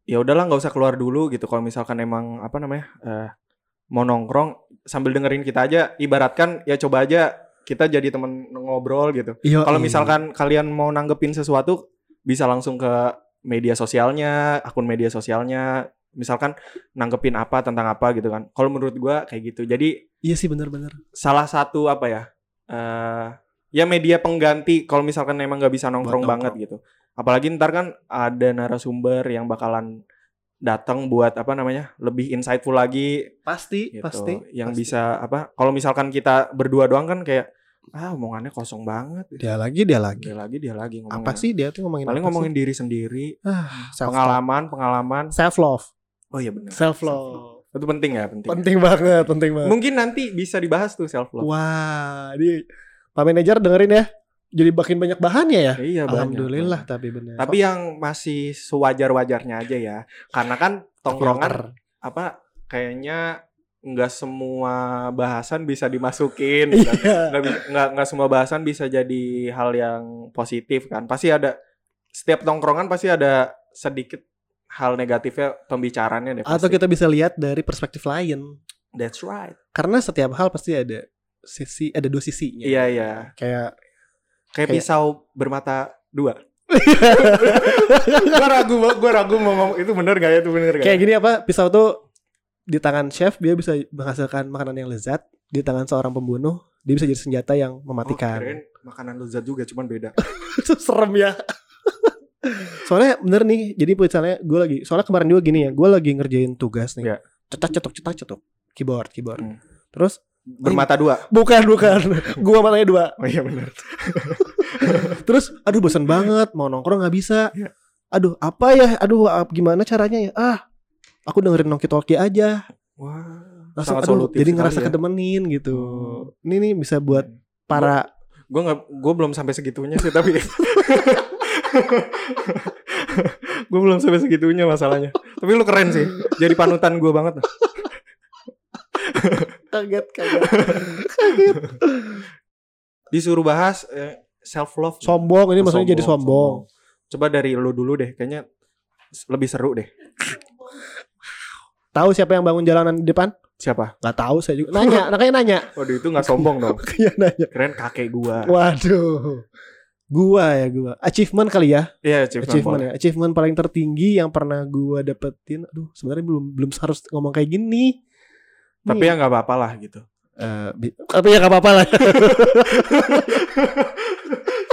Speaker 2: ya udahlah nggak usah keluar dulu gitu kalau misalkan emang apa namanya eh, mau nongkrong sambil dengerin kita aja ibaratkan ya coba aja kita jadi temen ngobrol gitu.
Speaker 1: Iya,
Speaker 2: Kalau
Speaker 1: iya.
Speaker 2: misalkan kalian mau nanggepin sesuatu bisa langsung ke media sosialnya, akun media sosialnya, misalkan nangkepin apa tentang apa gitu kan kalau menurut gua kayak gitu jadi
Speaker 1: Iya sih benar-benar.
Speaker 2: salah satu apa ya eh ya media pengganti kalau misalkan emang nggak bisa nongkrong,
Speaker 1: Buat nongkrong.
Speaker 2: banget gitu apalagi ntar kan ada narasumber yang bakalan datang buat apa namanya lebih insightful lagi
Speaker 1: Pasti,
Speaker 2: gitu
Speaker 1: pasti.
Speaker 2: yang
Speaker 1: pasti.
Speaker 2: bisa apa kalau misalkan kita berdua doang kan kayak ah omongannya kosong banget
Speaker 1: dia lagi dia lagi.
Speaker 2: dia lagi dia lagi Iya, ngomongin
Speaker 1: Apa sih dia tuh ngomongin?
Speaker 2: paling
Speaker 1: apa
Speaker 2: ngomongin diri sendiri
Speaker 1: self
Speaker 2: pengalaman pengalaman
Speaker 1: self love,
Speaker 2: oh iya benar
Speaker 1: self love.
Speaker 2: itu penting ya penting,
Speaker 1: Penting banget, penting banget.
Speaker 2: mungkin nanti bisa dibahas tuh self love
Speaker 1: Wah, dia Pak manajer dengerin ya. Jadi makin banyak bahannya ya.
Speaker 2: iya banyak.
Speaker 1: Alhamdulillah tapi benar.
Speaker 2: Tapi ya, yang masih sewajar-wajarnya aja ya. Karena kan tongkrongan apa kayaknya nggak semua bahasan bisa dimasukin. kan.
Speaker 1: Iya.
Speaker 2: nggak bi- nggak nggak semua bahasan bisa jadi hal yang positif kan. Pasti ada setiap tongkrongan pasti ada sedikit hal negatifnya pembicaranya deh.
Speaker 1: Atau
Speaker 2: pasti.
Speaker 1: kita bisa lihat dari perspektif lain.
Speaker 2: That's right.
Speaker 1: Karena setiap hal pasti ada sisi ada dua sisinya.
Speaker 2: Iya iya.
Speaker 1: Kayak Kayak-
Speaker 2: Kayak pisau bermata dua. gua ragu, gua ragu mau ngomong itu bener gak ya itu bener gak? ya?
Speaker 1: kayak gitu. gini apa? Pisau tuh di tangan chef dia bisa menghasilkan makanan yang lezat, di tangan seorang pembunuh dia bisa jadi senjata yang
Speaker 2: Oh,
Speaker 1: mematikan.
Speaker 2: kirain makanan lezat juga cuman beda.
Speaker 1: Itu serem ya. soalnya bener nih, jadi misalnya gue lagi, soalnya kemarin juga gini ya, gue lagi ngerjain tugas nih,
Speaker 2: Iya.
Speaker 1: cetak cetok cetak cetok, keyboard keyboard,
Speaker 2: Hmm.
Speaker 1: terus
Speaker 2: Bermata dua.
Speaker 1: bukan bukan, gue matanya dua,
Speaker 2: Oh iya benar.
Speaker 1: terus aduh bosan banget, mau nongkrong nggak bisa,
Speaker 2: Iya.
Speaker 1: aduh apa ya, aduh ap- gimana caranya ya, ah aku dengerin nongki talkie aja,
Speaker 2: Wah.
Speaker 1: langsung
Speaker 2: Sangat
Speaker 1: aduh,
Speaker 2: solutif
Speaker 1: jadi
Speaker 2: sekali
Speaker 1: ngerasa
Speaker 2: ya.
Speaker 1: kedemenin gitu,
Speaker 2: Hmm.
Speaker 1: ini nih bisa Iya. buat para
Speaker 2: Gue nggak, gue belum sampai segitunya sih tapi. gue belum sampai segitunya masalahnya. tapi lu keren sih. Jadi panutan gue banget.
Speaker 1: kaget kaget,
Speaker 2: Disuruh bahas eh, self love.
Speaker 1: sombong ini maksudnya jadi sombong.
Speaker 2: Coba dari lu dulu deh. Kayaknya s- lebih seru deh.
Speaker 1: Tahu siapa yang bangun jalanan di depan?
Speaker 2: Siapa?
Speaker 1: Gak tahu saya juga. Nanya, makanya nanya.
Speaker 2: Waduh itu nggak sombong dong.
Speaker 1: Makanya Iya, nanya.
Speaker 2: Keren kakek gua.
Speaker 1: Waduh. Gua ya gua. Achievement kali ya.
Speaker 2: Iya,
Speaker 1: Achievement,
Speaker 2: achievement.
Speaker 1: ya. Achievement paling tertinggi yang pernah gua dapetin. Aduh, sebenarnya belum belum harus ngomong kayak gini.
Speaker 2: Tapi ya nggak apa-apa lah gitu.
Speaker 1: Eh, bi- tapi ya gak apa-apa lah.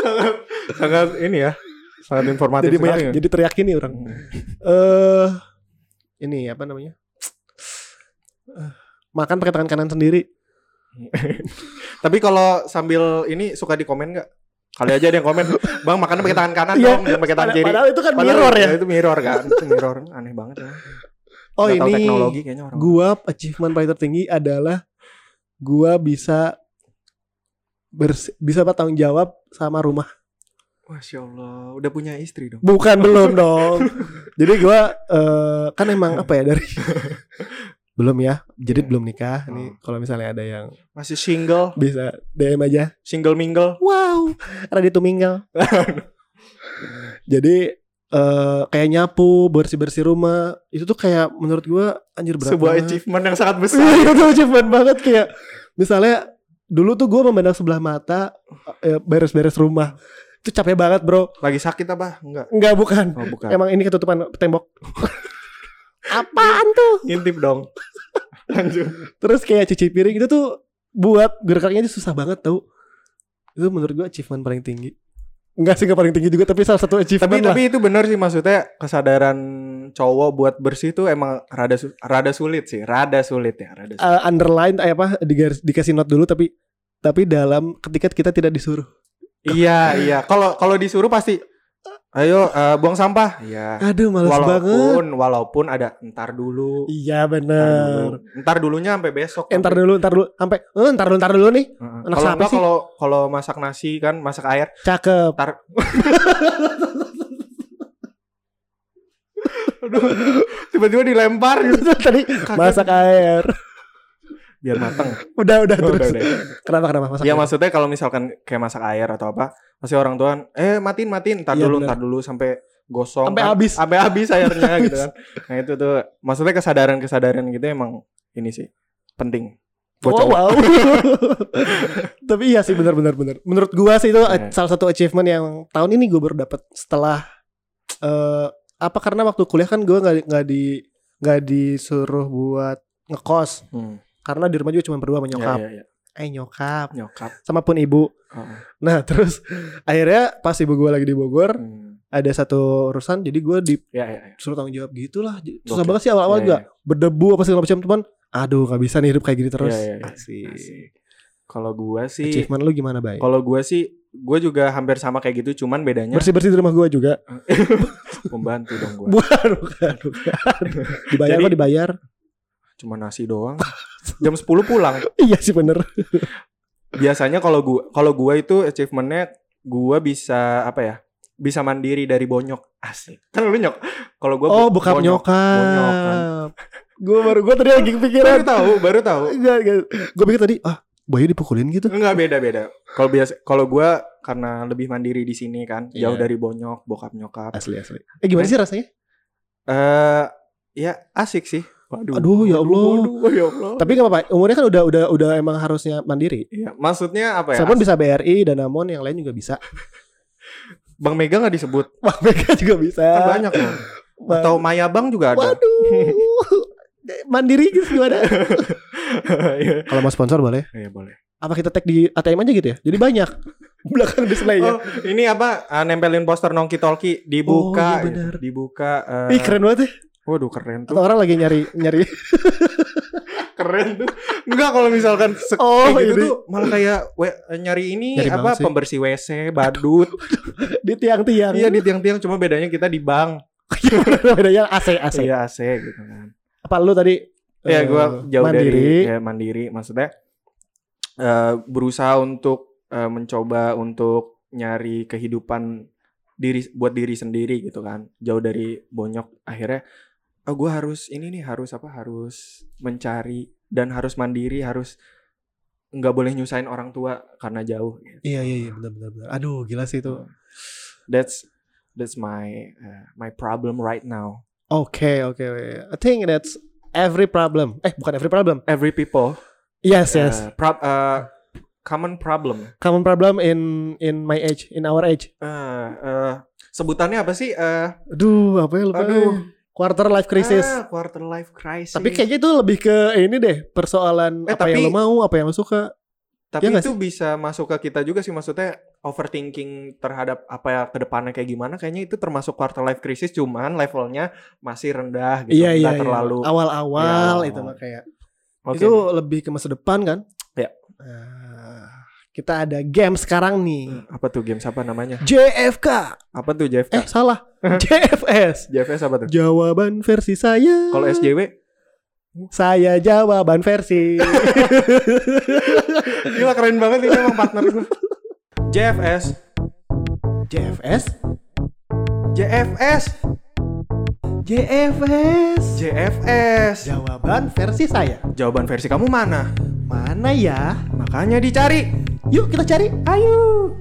Speaker 2: sangat, sangat ini ya. Sangat informatif
Speaker 1: jadi
Speaker 2: sekali
Speaker 1: banyak- gitu.
Speaker 2: ya.
Speaker 1: jadi teriak ini orang.
Speaker 2: Hmm.
Speaker 1: Eh ini apa namanya? Eh, makan pakai tangan kanan sendiri.
Speaker 2: Tapi kalau sambil ini suka di komen nggak? Kali aja ada yang komen, bang makannya pakai tangan kanan
Speaker 1: Iya,
Speaker 2: dong, jangan pakai tangan
Speaker 1: Pada-
Speaker 2: kiri.
Speaker 1: Padahal itu kan mirror ya.
Speaker 2: Itu mirror kan, itu mirror aneh banget ya.
Speaker 1: Oh,
Speaker 2: Nggak tahu
Speaker 1: ini
Speaker 2: teknologi kayaknya orang.
Speaker 1: gua achievement paling tertinggi adalah gua bisa bers bisa bertanggung jawab sama rumah.
Speaker 2: Masya Allah, udah punya istri dong.
Speaker 1: Bukan belum dong. Jadi gua eh, kan emang apa ya dari belum ya. Jadi belum nikah. Nih kalau misalnya ada yang
Speaker 2: Masih single,
Speaker 1: bisa DM aja.
Speaker 2: single mingle.
Speaker 1: Wow, ready to mingle. Jadi eh, kayak nyapu, bersih-bersih rumah, itu tuh kayak menurut gua anjir berat
Speaker 2: Sebuah
Speaker 1: banget.
Speaker 2: achievement yang sangat besar.
Speaker 1: Iya, itu tuh achievement banget kayak misalnya dulu tuh gue memandang sebelah mata eh, beres-beres rumah itu capek banget bro
Speaker 2: Lagi sakit apa? Enggak.
Speaker 1: nggak bukan
Speaker 2: Oh bukan.
Speaker 1: emang ini ketutupan tembok apaan tuh
Speaker 2: Intip dong. Lanjut.
Speaker 1: terus kayak cuci piring itu tuh buat geraknya itu susah banget tau itu menurut gue achievement paling tinggi Enggak sih nggak paling tinggi juga tapi salah satu achievement
Speaker 2: Tapi
Speaker 1: lah
Speaker 2: tapi itu benar sih maksudnya kesadaran cowok buat bersih itu emang rada su- rada sulit sih, rada sulit ya, rada sulit.
Speaker 1: Eh, underline eh, apa digaris- dikasih note dulu tapi tapi dalam ketika kita tidak disuruh
Speaker 2: Iya iya. Kalau kalau disuruh pasti, ayo eh, buang sampah. Iya.
Speaker 1: aduh males banget
Speaker 2: Walaupun walaupun ada entar dulu.
Speaker 1: iya
Speaker 2: Entar,
Speaker 1: bener
Speaker 2: dulu. Entar dulunya sampai besok.
Speaker 1: Eh, ntar dulu, ntar dulu, sampai, eh, ntar dulu, ntar dulu nih,
Speaker 2: Heeh.
Speaker 1: Anak
Speaker 2: Kalau
Speaker 1: siapa
Speaker 2: enggak
Speaker 1: sih?
Speaker 2: kalau kalau masak nasi kan masak air.
Speaker 1: cakep.
Speaker 2: Ntar. Tiba-tiba dilempar gitu.
Speaker 1: Tadi masak air,
Speaker 2: Biar mateng.
Speaker 1: udah, udah,
Speaker 2: Oh,
Speaker 1: terus.
Speaker 2: udah, udah.
Speaker 1: Kenapa, kenapa masak?
Speaker 2: Iya
Speaker 1: air?
Speaker 2: maksudnya kalau misalkan kayak masak air atau apa, pasti orang tua eh matiin matiin, ntar
Speaker 1: Iya,
Speaker 2: dulu
Speaker 1: benar.
Speaker 2: ntar dulu sampai gosong,
Speaker 1: Sampai
Speaker 2: kan.
Speaker 1: habis.
Speaker 2: sampai habis airnya gitu kan. Nah itu tuh maksudnya kesadaran kesadaran gitu emang ini sih penting. Buat
Speaker 1: Oh,
Speaker 2: cowok.
Speaker 1: wow. Tapi iya sih, benar, benar, benar. Menurut gua sih itu eh,
Speaker 2: Iya.
Speaker 1: salah satu achievement yang tahun ini gua baru dapat setelah eh apa karena waktu kuliah kan gua nggak nggak di nggak disuruh buat ngekos
Speaker 2: Hmm.
Speaker 1: karena di rumah juga cuma berdua sama
Speaker 2: Ya,
Speaker 1: nyokap.
Speaker 2: ya, ya.
Speaker 1: Eh nyokap,
Speaker 2: Nyokap.
Speaker 1: sama pun ibu.
Speaker 2: Heeh.
Speaker 1: Nah terus akhirnya pas ibu gue lagi di Bogor
Speaker 2: Hmm.
Speaker 1: ada satu urusan, jadi gue
Speaker 2: Ya, ya, ya.
Speaker 1: disuruh tanggung jawab gitulah. Susah
Speaker 2: Oke.
Speaker 1: banget sih awal-awal
Speaker 2: Ya,
Speaker 1: juga
Speaker 2: ya.
Speaker 1: berdebu apa segala macam teman. Aduh nggak bisa nih hidup kayak gini terus.
Speaker 2: Ya, ya, ya.
Speaker 1: Asik.
Speaker 2: Asik. Kalau gua sih,
Speaker 1: Achievement lu gimana baik?
Speaker 2: kalau gua sih, gua juga hampir sama kayak gitu, cuman bedanya
Speaker 1: Bersih-bersih di rumah gue juga.
Speaker 2: pembantu dong gua.
Speaker 1: Bukan, bukan, bukan. Dibayar
Speaker 2: Jadi-
Speaker 1: kok dibayar.
Speaker 2: Cuma nasi doang. Jam 10 pulang.
Speaker 1: Iya sih bener.
Speaker 2: Biasanya kalau gua kalau gua itu achievementnya gua bisa apa ya? Bisa mandiri dari bonyok. Asik. Kan lu nyok. Kalau gua kan.
Speaker 1: oh,
Speaker 2: bo-
Speaker 1: bokap
Speaker 2: bonyokan.
Speaker 1: nyokap. Gue baru gue tadi lagi kepikiran.
Speaker 2: Baru tahu, baru tahu.
Speaker 1: Gue pikir tadi ah Bayu dipukulin gitu.
Speaker 2: Enggak beda-beda. Kalau biasa kalau gua karena lebih mandiri di sini kan, jauh
Speaker 1: Iya.
Speaker 2: dari bonyok, bokap nyokap.
Speaker 1: Asli asli. Eh
Speaker 2: Iya.
Speaker 1: gimana sih rasanya?
Speaker 2: Eh ya asik sih. Waduh.
Speaker 1: Aduh, ya Allah.
Speaker 2: Waduh, waduh, ya Allah.
Speaker 1: Oh, Tapi gak apa-apa. Umurnya kan udah udah udah emang harusnya mandiri.
Speaker 2: Iya, maksudnya apa ya?
Speaker 1: Siapapun bisa BRI dan Namon yang lain juga bisa.
Speaker 2: Bang Mega nggak disebut.
Speaker 1: Wah mereka juga bisa.
Speaker 2: Kan banyak loh.
Speaker 1: Eh, Bang-
Speaker 2: Atau Maya Bang juga ada.
Speaker 1: Waduh. mandiri gitu gimana?
Speaker 2: Iya.
Speaker 1: Kalau mau sponsor boleh.
Speaker 2: Iya, boleh.
Speaker 1: Apa kita tag di ATM aja gitu ya? Jadi banyak. Belakang display-nya.
Speaker 2: Oh, ini apa? ah, nempelin poster Nongki Tolki
Speaker 1: Oh,
Speaker 2: dibuka,
Speaker 1: iya benar.
Speaker 2: dibuka. eh,
Speaker 1: Ih keren banget ya.
Speaker 2: Waduh, keren tuh.
Speaker 1: Atau orang lagi nyari nyari
Speaker 2: Keren tuh. Enggak kalau misalkan se-
Speaker 1: Oh,
Speaker 2: kayak gitu
Speaker 1: ini.
Speaker 2: tuh malah kayak we- nyari ini
Speaker 1: Nyari
Speaker 2: apa
Speaker 1: banget sih.
Speaker 2: pembersih WC, badut.
Speaker 1: di tiang-tiang.
Speaker 2: iya di tiang-tiang cuma bedanya kita di bank.
Speaker 1: bedanya AC AC.
Speaker 2: Iya AC gitu kan.
Speaker 1: Apa lu tadi?
Speaker 2: Iya,
Speaker 1: eh,
Speaker 2: gua jauh dari
Speaker 1: mandiri.
Speaker 2: ya, mandiri maksudnya eh, berusaha untuk eh, mencoba untuk nyari kehidupan diri buat diri sendiri gitu kan. Jauh dari bonyok akhirnya oh gua harus ini nih harus apa harus mencari dan harus mandiri, harus nggak boleh nyusahin orang tua karena jauh.
Speaker 1: Iya iya iya benar benar benar. Aduh gila sih itu.
Speaker 2: That's that's my eh, my problem right now.
Speaker 1: Oke oke. oke. I think that's every problem. Eh bukan every problem.
Speaker 2: Every people
Speaker 1: Yes yes.
Speaker 2: eh, prob- eh, common problem
Speaker 1: Common problem in in my age, in our age.
Speaker 2: eh eh, sebutannya apa sih? eh
Speaker 1: Aduh apa ya lupa.
Speaker 2: Aduh.
Speaker 1: Quarter life crisis.
Speaker 2: ah, quarter life crisis.
Speaker 1: Tapi kayaknya itu lebih ke ini deh persoalan
Speaker 2: Eh,
Speaker 1: apa
Speaker 2: tapi-
Speaker 1: yang lo mau, apa yang lo suka.
Speaker 2: Tapi
Speaker 1: iya nggak
Speaker 2: itu bisa masuk ke kita juga sih maksudnya overthinking terhadap apa ya kedepannya kayak gimana. Kayaknya itu termasuk quarter life crisis, cuman levelnya masih rendah gitu,
Speaker 1: Iya
Speaker 2: nggak
Speaker 1: iya. iya.
Speaker 2: terlalu.
Speaker 1: Awal-awal
Speaker 2: Iya,
Speaker 1: itu
Speaker 2: awal.
Speaker 1: mah kayak.
Speaker 2: Oke.
Speaker 1: Itu lebih ke masa depan kan?
Speaker 2: Ya.
Speaker 1: Nah, kita ada game sekarang nih.
Speaker 2: apa tuh games apa namanya?
Speaker 1: JFK.
Speaker 2: Apa tuh JFK?
Speaker 1: Eh salah. JFS.
Speaker 2: JFS apa tuh?
Speaker 1: Jawaban versi saya.
Speaker 2: Kalau SJW?
Speaker 1: saya jawaban versi.
Speaker 2: Gila keren banget ini emang partner gue. JFS,
Speaker 1: JFS.
Speaker 2: JFS,
Speaker 1: JFS.
Speaker 2: JFS.
Speaker 1: Jawaban versi saya.
Speaker 2: Jawaban versi kamu mana?
Speaker 1: Mana ya?
Speaker 2: Makanya dicari.
Speaker 1: Yuk kita cari. Ayo.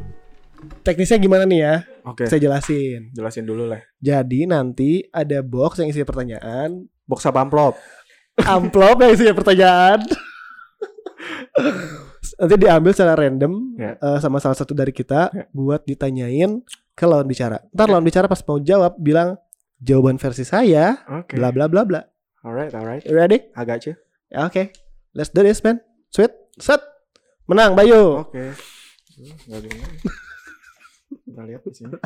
Speaker 1: Teknisnya gimana nih ya?
Speaker 2: Oke,
Speaker 1: Saya jelasin.
Speaker 2: jelasin dulu lah.
Speaker 1: Jadi nanti ada box yang isinya pertanyaan,
Speaker 2: Box apa amplop?
Speaker 1: amplop yang isinya pertanyaan. Nanti diambil secara random
Speaker 2: Ya.
Speaker 1: eh, sama salah satu dari kita
Speaker 2: Ya.
Speaker 1: buat ditanyain ke lawan bicara. Ntar lawan bicara pas mau jawab bilang jawaban versi saya
Speaker 2: Oke.
Speaker 1: bla bla bla bla.
Speaker 2: Alright, alright.
Speaker 1: You Ready?
Speaker 2: I got you.
Speaker 1: Ya, Oke. Let's do this man. Sweet. Set. Menang Bayu.
Speaker 2: Oke. Hmm, nggak bingung. Kita lihat di sini.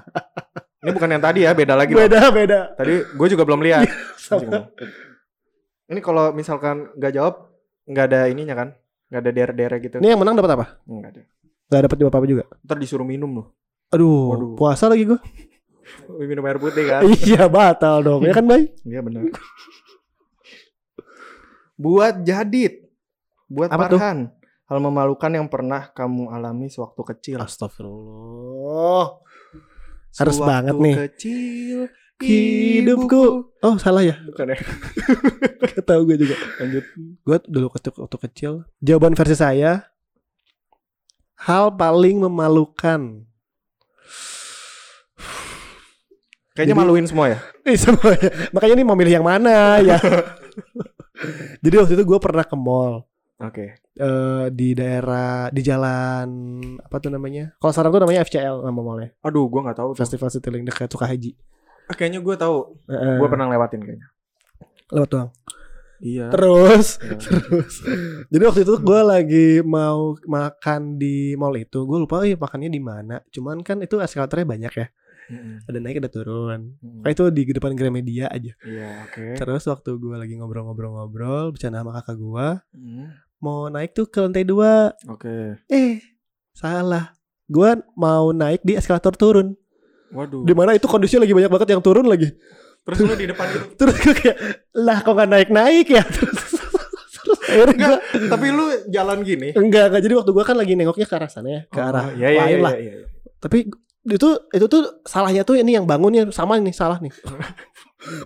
Speaker 2: Ini bukan yang tadi ya, beda Iya, lagi. loh.
Speaker 1: beda beda.
Speaker 2: Tadi gue juga belum lihat.
Speaker 1: Sama.
Speaker 2: Ini kalau misalkan nggak jawab, nggak ada ininya kan? Nggak ada dere-dere gitu.
Speaker 1: Ini yang menang dapat apa?
Speaker 2: Nggak ada.
Speaker 1: Gak dapat apa apa juga.
Speaker 2: Ntar disuruh minum loh.
Speaker 1: Aduh,
Speaker 2: Waduh.
Speaker 1: puasa lagi gue.
Speaker 2: Minum air putih kan?
Speaker 1: iya batal dong. Ya kan Bay?
Speaker 2: Iya benar. Buat Jadid. Buat
Speaker 1: Apa tuh?
Speaker 2: Farhan. Hal memalukan yang pernah kamu alami sewaktu kecil.
Speaker 1: Astagfirullah. Ah, Harus
Speaker 2: Sewaktu
Speaker 1: banget nih.
Speaker 2: kecil
Speaker 1: Hidupku. Oh salah ya.
Speaker 2: Bukan ya.
Speaker 1: Gak tau gue juga.
Speaker 2: Lanjut.
Speaker 1: Gue dulu waktu, waktu kecil. Jawaban versi saya. Hal paling memalukan.
Speaker 2: Kayaknya
Speaker 1: Jadi-
Speaker 2: maluin semua ya.
Speaker 1: Ih, semuanya. Makanya nih mau milih yang mana ya. Jadi waktu itu gue pernah ke mall.
Speaker 2: Oke.
Speaker 1: eh, di daerah di jalan apa tuh namanya kalau sekarang tuh namanya FCL nama mallnya
Speaker 2: Aduh, gua nggak tahu. tuh.
Speaker 1: Festival Citylink dekat Sukahaji
Speaker 2: Ah, Kayaknya gua tahu.
Speaker 1: Heeh.
Speaker 2: Gua pernah lewatin kayaknya.
Speaker 1: lewat doang.
Speaker 2: Iya.
Speaker 1: Terus,
Speaker 2: Ya.
Speaker 1: terus. Jadi waktu itu gue lagi mau makan di mall itu, gue lupa eh makannya di mana. Cuman kan itu eskalatornya banyak ya,
Speaker 2: Mm-mm.
Speaker 1: ada naik ada turun.
Speaker 2: Mm-mm.
Speaker 1: Kayak itu di depan Gramedia aja.
Speaker 2: Iya, oke.
Speaker 1: Terus waktu gue lagi ngobrol-ngobrol-ngobrol, bercanda sama kakak gue,
Speaker 2: Mm.
Speaker 1: mau naik tuh ke lantai dua.
Speaker 2: Oke.
Speaker 1: Eh, salah. Gue mau naik di eskalator turun.
Speaker 2: Waduh.
Speaker 1: Di mana itu kondisinya lagi banyak banget yang turun lagi.
Speaker 2: Terus lu di depan gitu. itu.
Speaker 1: Terus gue kayak, lah kok nggak naik-naik ya? Terus, terus akhirnya gue
Speaker 2: Tapi lu jalan gini.
Speaker 1: Enggak, enggak. Jadi waktu gua kan lagi nengoknya ke arah sana ya, ke arah
Speaker 2: Oh, iya, iya,
Speaker 1: lain
Speaker 2: iya,
Speaker 1: lah.
Speaker 2: iya, iya.
Speaker 1: Tapi itu itu tuh salahnya tuh ini yang bangunnya sama nih salah nih.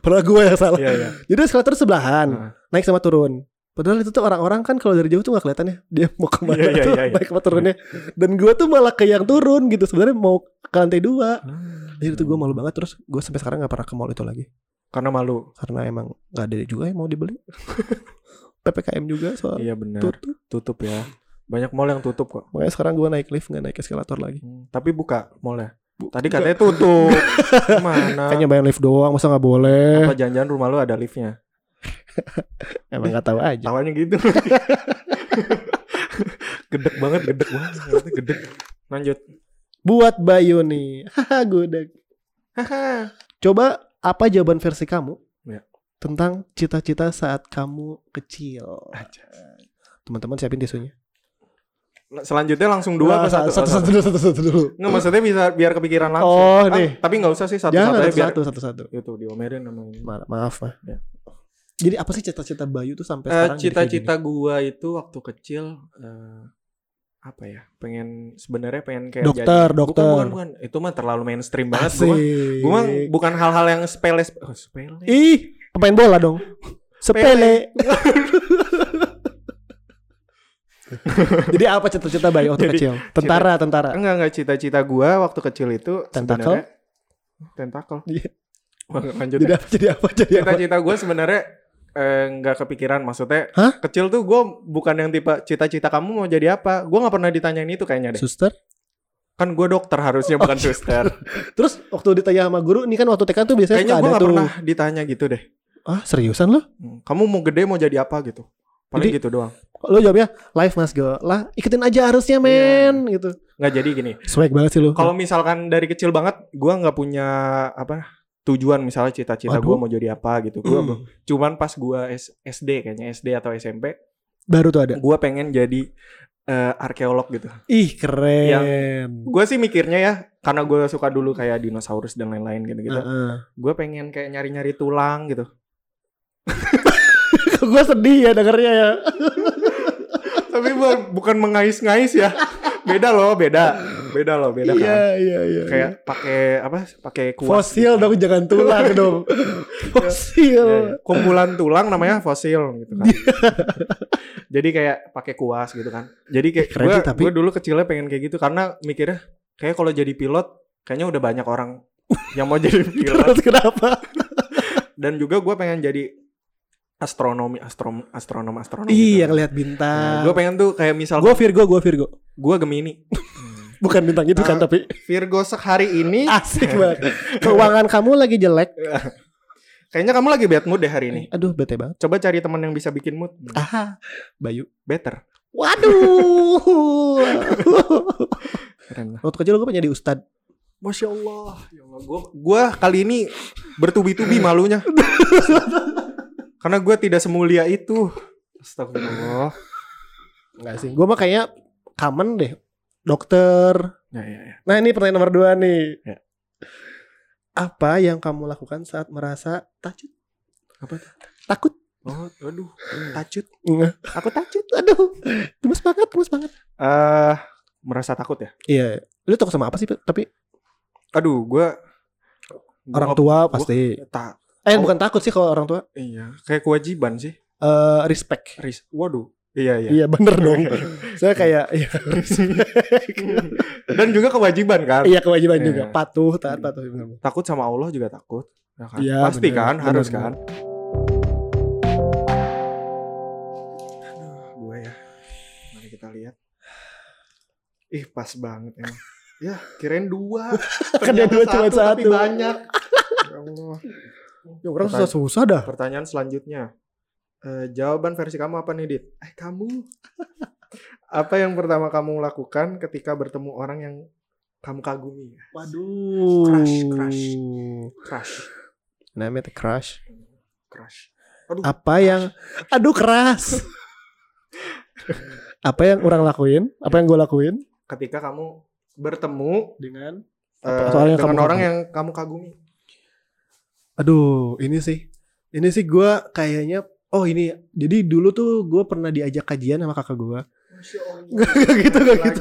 Speaker 1: Padahal gua yang salah.
Speaker 2: Iya, Hmm. iya. Ah,
Speaker 1: Jadi eskalator sebelahan,
Speaker 2: Heeh.
Speaker 1: naik sama turun. Padahal itu tuh orang-orang kan kalau dari jauh tuh gak kelihatan ya dia mau kemana
Speaker 2: Iya, iya,
Speaker 1: tuh
Speaker 2: iya, iya.
Speaker 1: naik sama turunnya. Dan gua tuh malah ke yang turun gitu. Sebenarnya mau ke lantai dua.
Speaker 2: Hmm.
Speaker 1: Jadi itu gua malu banget terus gua sampai sekarang nggak pernah ke mall itu lagi
Speaker 2: Karena malu.
Speaker 1: karena emang nggak ada juga yang mau dibeli. PPKM juga soal
Speaker 2: Iya benar.
Speaker 1: tutup.
Speaker 2: Tutup ya. Banyak mall yang tutup kok.
Speaker 1: Makanya sekarang gua naik lift nggak naik eskalator lagi.
Speaker 2: Hmm, Tapi buka mallnya. Tadi katanya tutup. Mana?
Speaker 1: Kan nyobain lift doang masa nggak boleh
Speaker 2: Apa jangan-jangan rumah lu ada liftnya?
Speaker 1: Emang nggak tahu aja
Speaker 2: Tawanya gitu. gedek banget, gedek banget. Ternyata Gedek. Lanjut.
Speaker 1: Buat Bayu nih Haha gudeg Coba apa jawaban versi kamu
Speaker 2: Ya.
Speaker 1: Tentang cita-cita saat kamu kecil
Speaker 2: Aja.
Speaker 1: Teman-teman siapin tisunya
Speaker 2: Nah, Selanjutnya langsung dua apa
Speaker 1: Nah,
Speaker 2: satu?
Speaker 1: Satu
Speaker 2: Oh,
Speaker 1: satu dulu satu satu dulu
Speaker 2: Nggak maksudnya bisa biar kepikiran langsung.
Speaker 1: Oh,
Speaker 2: Ah,
Speaker 1: nih.
Speaker 2: tapi nggak usah sih satu
Speaker 1: Jangan
Speaker 2: satu
Speaker 1: satu
Speaker 2: biar
Speaker 1: satu satu satu
Speaker 2: itu diomelin sama ini.
Speaker 1: Ma- Maaf mah
Speaker 2: Ya.
Speaker 1: Jadi apa sih cita-cita Bayu tuh sampai
Speaker 2: Eh,
Speaker 1: sekarang jadi kayak
Speaker 2: cita-cita gua itu waktu kecil eh, apa ya? Pengen sebenarnya pengen kayak
Speaker 1: Dokter,
Speaker 2: jadi-
Speaker 1: dokter.
Speaker 2: Bukan, bukan, bukan. Itu mah terlalu mainstream
Speaker 1: gini?
Speaker 2: banget gua.
Speaker 1: Asik Iya.
Speaker 2: Gua mah bukan hal-hal yang sepele sepele. Oh, sepele.
Speaker 1: Ih pemain bola dong Sepele Jadi apa cita-cita Bayu waktu
Speaker 2: Jadi,
Speaker 1: kecil? Tentara, tentara
Speaker 2: Enggak enggak cita-cita gua waktu kecil itu
Speaker 1: Tentakel?
Speaker 2: sebenarnya tentakel.
Speaker 1: Iya.
Speaker 2: Wah, nggak lanjut. ya.
Speaker 1: Jadi apa? Jadi apa? Jadi apa?
Speaker 2: Cita-cita gua sebenarnya eh, nggak kepikiran maksudnya
Speaker 1: Hah?
Speaker 2: kecil tuh gua bukan yang tipe cita-cita kamu mau jadi apa gua nggak pernah ditanyain itu kayaknya deh
Speaker 1: Suster.
Speaker 2: kan gua dokter harusnya bukan
Speaker 1: Oh, iya.
Speaker 2: suster
Speaker 1: Terus waktu ditanya sama guru, ini kan waktu TK tuh biasanya
Speaker 2: kayaknya
Speaker 1: suka ada
Speaker 2: gua nggak
Speaker 1: tuh.
Speaker 2: pernah ditanya gitu deh
Speaker 1: Ah seriusan lo?
Speaker 2: Hmm, kamu mau gede mau jadi apa gitu paling
Speaker 1: Jadi-
Speaker 2: gitu doang
Speaker 1: Lo jawabnya ya, live mas go lah ikutin aja harusnya men gitu.
Speaker 2: nggak jadi gini
Speaker 1: Swag banget sih lo.
Speaker 2: kalau misalkan dari kecil banget gua nggak punya apa tujuan misalnya cita-cita
Speaker 1: Waduh.
Speaker 2: gua mau jadi apa gitu gua
Speaker 1: Hmm.
Speaker 2: cuman pas gua S- SD kayaknya SD atau SMP
Speaker 1: baru tuh ada.
Speaker 2: gua pengen jadi eh, arkeolog gitu
Speaker 1: Ih keren.
Speaker 2: gue sih mikirnya ya karena gue suka dulu kayak dinosaurus dan lain-lain gitu-gitu
Speaker 1: Heeh.
Speaker 2: gue pengen kayak nyari-nyari tulang gitu
Speaker 1: Gua sedih ya dengernya ya.
Speaker 2: tapi bu- bukan mengais-ngais ya beda loh beda beda loh beda
Speaker 1: Iya
Speaker 2: kan
Speaker 1: iya iya.
Speaker 2: kayak pakai apa pakai kuas
Speaker 1: fosil
Speaker 2: gitu.
Speaker 1: dong jangan tulang dong.
Speaker 2: Iya,
Speaker 1: Fosil.
Speaker 2: iya. kumpulan tulang namanya fosil gitu kan jadi kayak pakai kuas gitu kan jadi kayak
Speaker 1: Keren
Speaker 2: gue
Speaker 1: sih, tapi-
Speaker 2: dulu kecilnya pengen kayak gitu karena mikirnya kayak kalau jadi pilot kayaknya udah banyak orang yang mau jadi pilot
Speaker 1: Terus kenapa?
Speaker 2: dan juga gue pengen jadi astronomi astrom astronom astronom
Speaker 1: Iya
Speaker 2: gitu.
Speaker 1: ngeliat bintang.
Speaker 2: gue pengen tuh kayak misal
Speaker 1: Gua Virgo, gua Virgo.
Speaker 2: gue gemini
Speaker 1: Bukan bintang itu kan
Speaker 2: Nah,
Speaker 1: tapi
Speaker 2: Virgo sehari ini
Speaker 1: asik banget. Keuangan kamu lagi jelek.
Speaker 2: kayaknya kamu lagi bad mood deh hari ini
Speaker 1: Aduh bete banget.
Speaker 2: coba cari teman yang bisa bikin mood
Speaker 1: Ah, Bayu.
Speaker 2: better
Speaker 1: Waduh.
Speaker 2: keren lah
Speaker 1: Waktu kecil gue pengen jadi ustad.
Speaker 2: masya allah ya allah gue kali ini bertubi-tubi malunya karena gue tidak semulia itu astagfirullah
Speaker 1: Enggak sih. Gue mah kayaknya common deh. Dokter.
Speaker 2: ya ya ya
Speaker 1: Nah ini pertanyaan nomor dua nih.
Speaker 2: Ya.
Speaker 1: Apa yang kamu lakukan saat merasa takut?
Speaker 2: Apa tuh?
Speaker 1: Takut.
Speaker 2: oh aduh tacut
Speaker 1: Nggak.
Speaker 2: aku tacut
Speaker 1: Aduh. Gemes banget, gemes banget.
Speaker 2: eh merasa takut ya
Speaker 1: Iya. Lu takut sama apa sih? Tapi
Speaker 2: aduh gue
Speaker 1: orang tua pasti.
Speaker 2: tak
Speaker 1: Eh
Speaker 2: Oh.
Speaker 1: bukan takut sih kalau orang tua.
Speaker 2: Iya, kayak kewajiban sih.
Speaker 1: Eh respect.
Speaker 2: Ris, waduh. Iya iya.
Speaker 1: Iya bener dong. Saya kayak iya,
Speaker 2: Dan juga kewajiban kan.
Speaker 1: iya kewajiban
Speaker 2: Iya.
Speaker 1: juga. Patuh, taat, patuh. Bener.
Speaker 2: Takut sama Allah juga takut. Ya kan?
Speaker 1: Iya,
Speaker 2: Pasti
Speaker 1: bener,
Speaker 2: kan,
Speaker 1: bener,
Speaker 2: harus
Speaker 1: bener.
Speaker 2: kan. Aduh, gue ya. Mari kita lihat. Ih, pas banget emang. Ya, kirain dua.
Speaker 1: Kan dia
Speaker 2: Ternyata
Speaker 1: dua, cuma
Speaker 2: Tapi
Speaker 1: satu.
Speaker 2: banyak. ya Allah.
Speaker 1: Ya, orang susah-susah dah.
Speaker 2: Pertanyaan selanjutnya. Eh, jawaban versi kamu apa nih, Dit? Eh, kamu. apa yang pertama kamu lakukan ketika bertemu orang yang kamu kagumi?
Speaker 1: Waduh.
Speaker 2: Crush, crush. Crush.
Speaker 1: Namanya tuh crush.
Speaker 2: Crush. Aduh,
Speaker 1: Apa yang aduh keras. apa yang orang lakuin? Apa yang gue lakuin?
Speaker 2: ketika kamu bertemu
Speaker 1: Dengan
Speaker 2: eh,
Speaker 1: soal yang
Speaker 2: dengan
Speaker 1: kamu
Speaker 2: orang
Speaker 1: kagumi?
Speaker 2: yang kamu kagumi.
Speaker 1: Aduh, ini sih. Ini sih gue kayaknya Oh ini, jadi dulu tuh gue pernah diajak kajian sama kakak gue. Gak, gitu, gak gitu.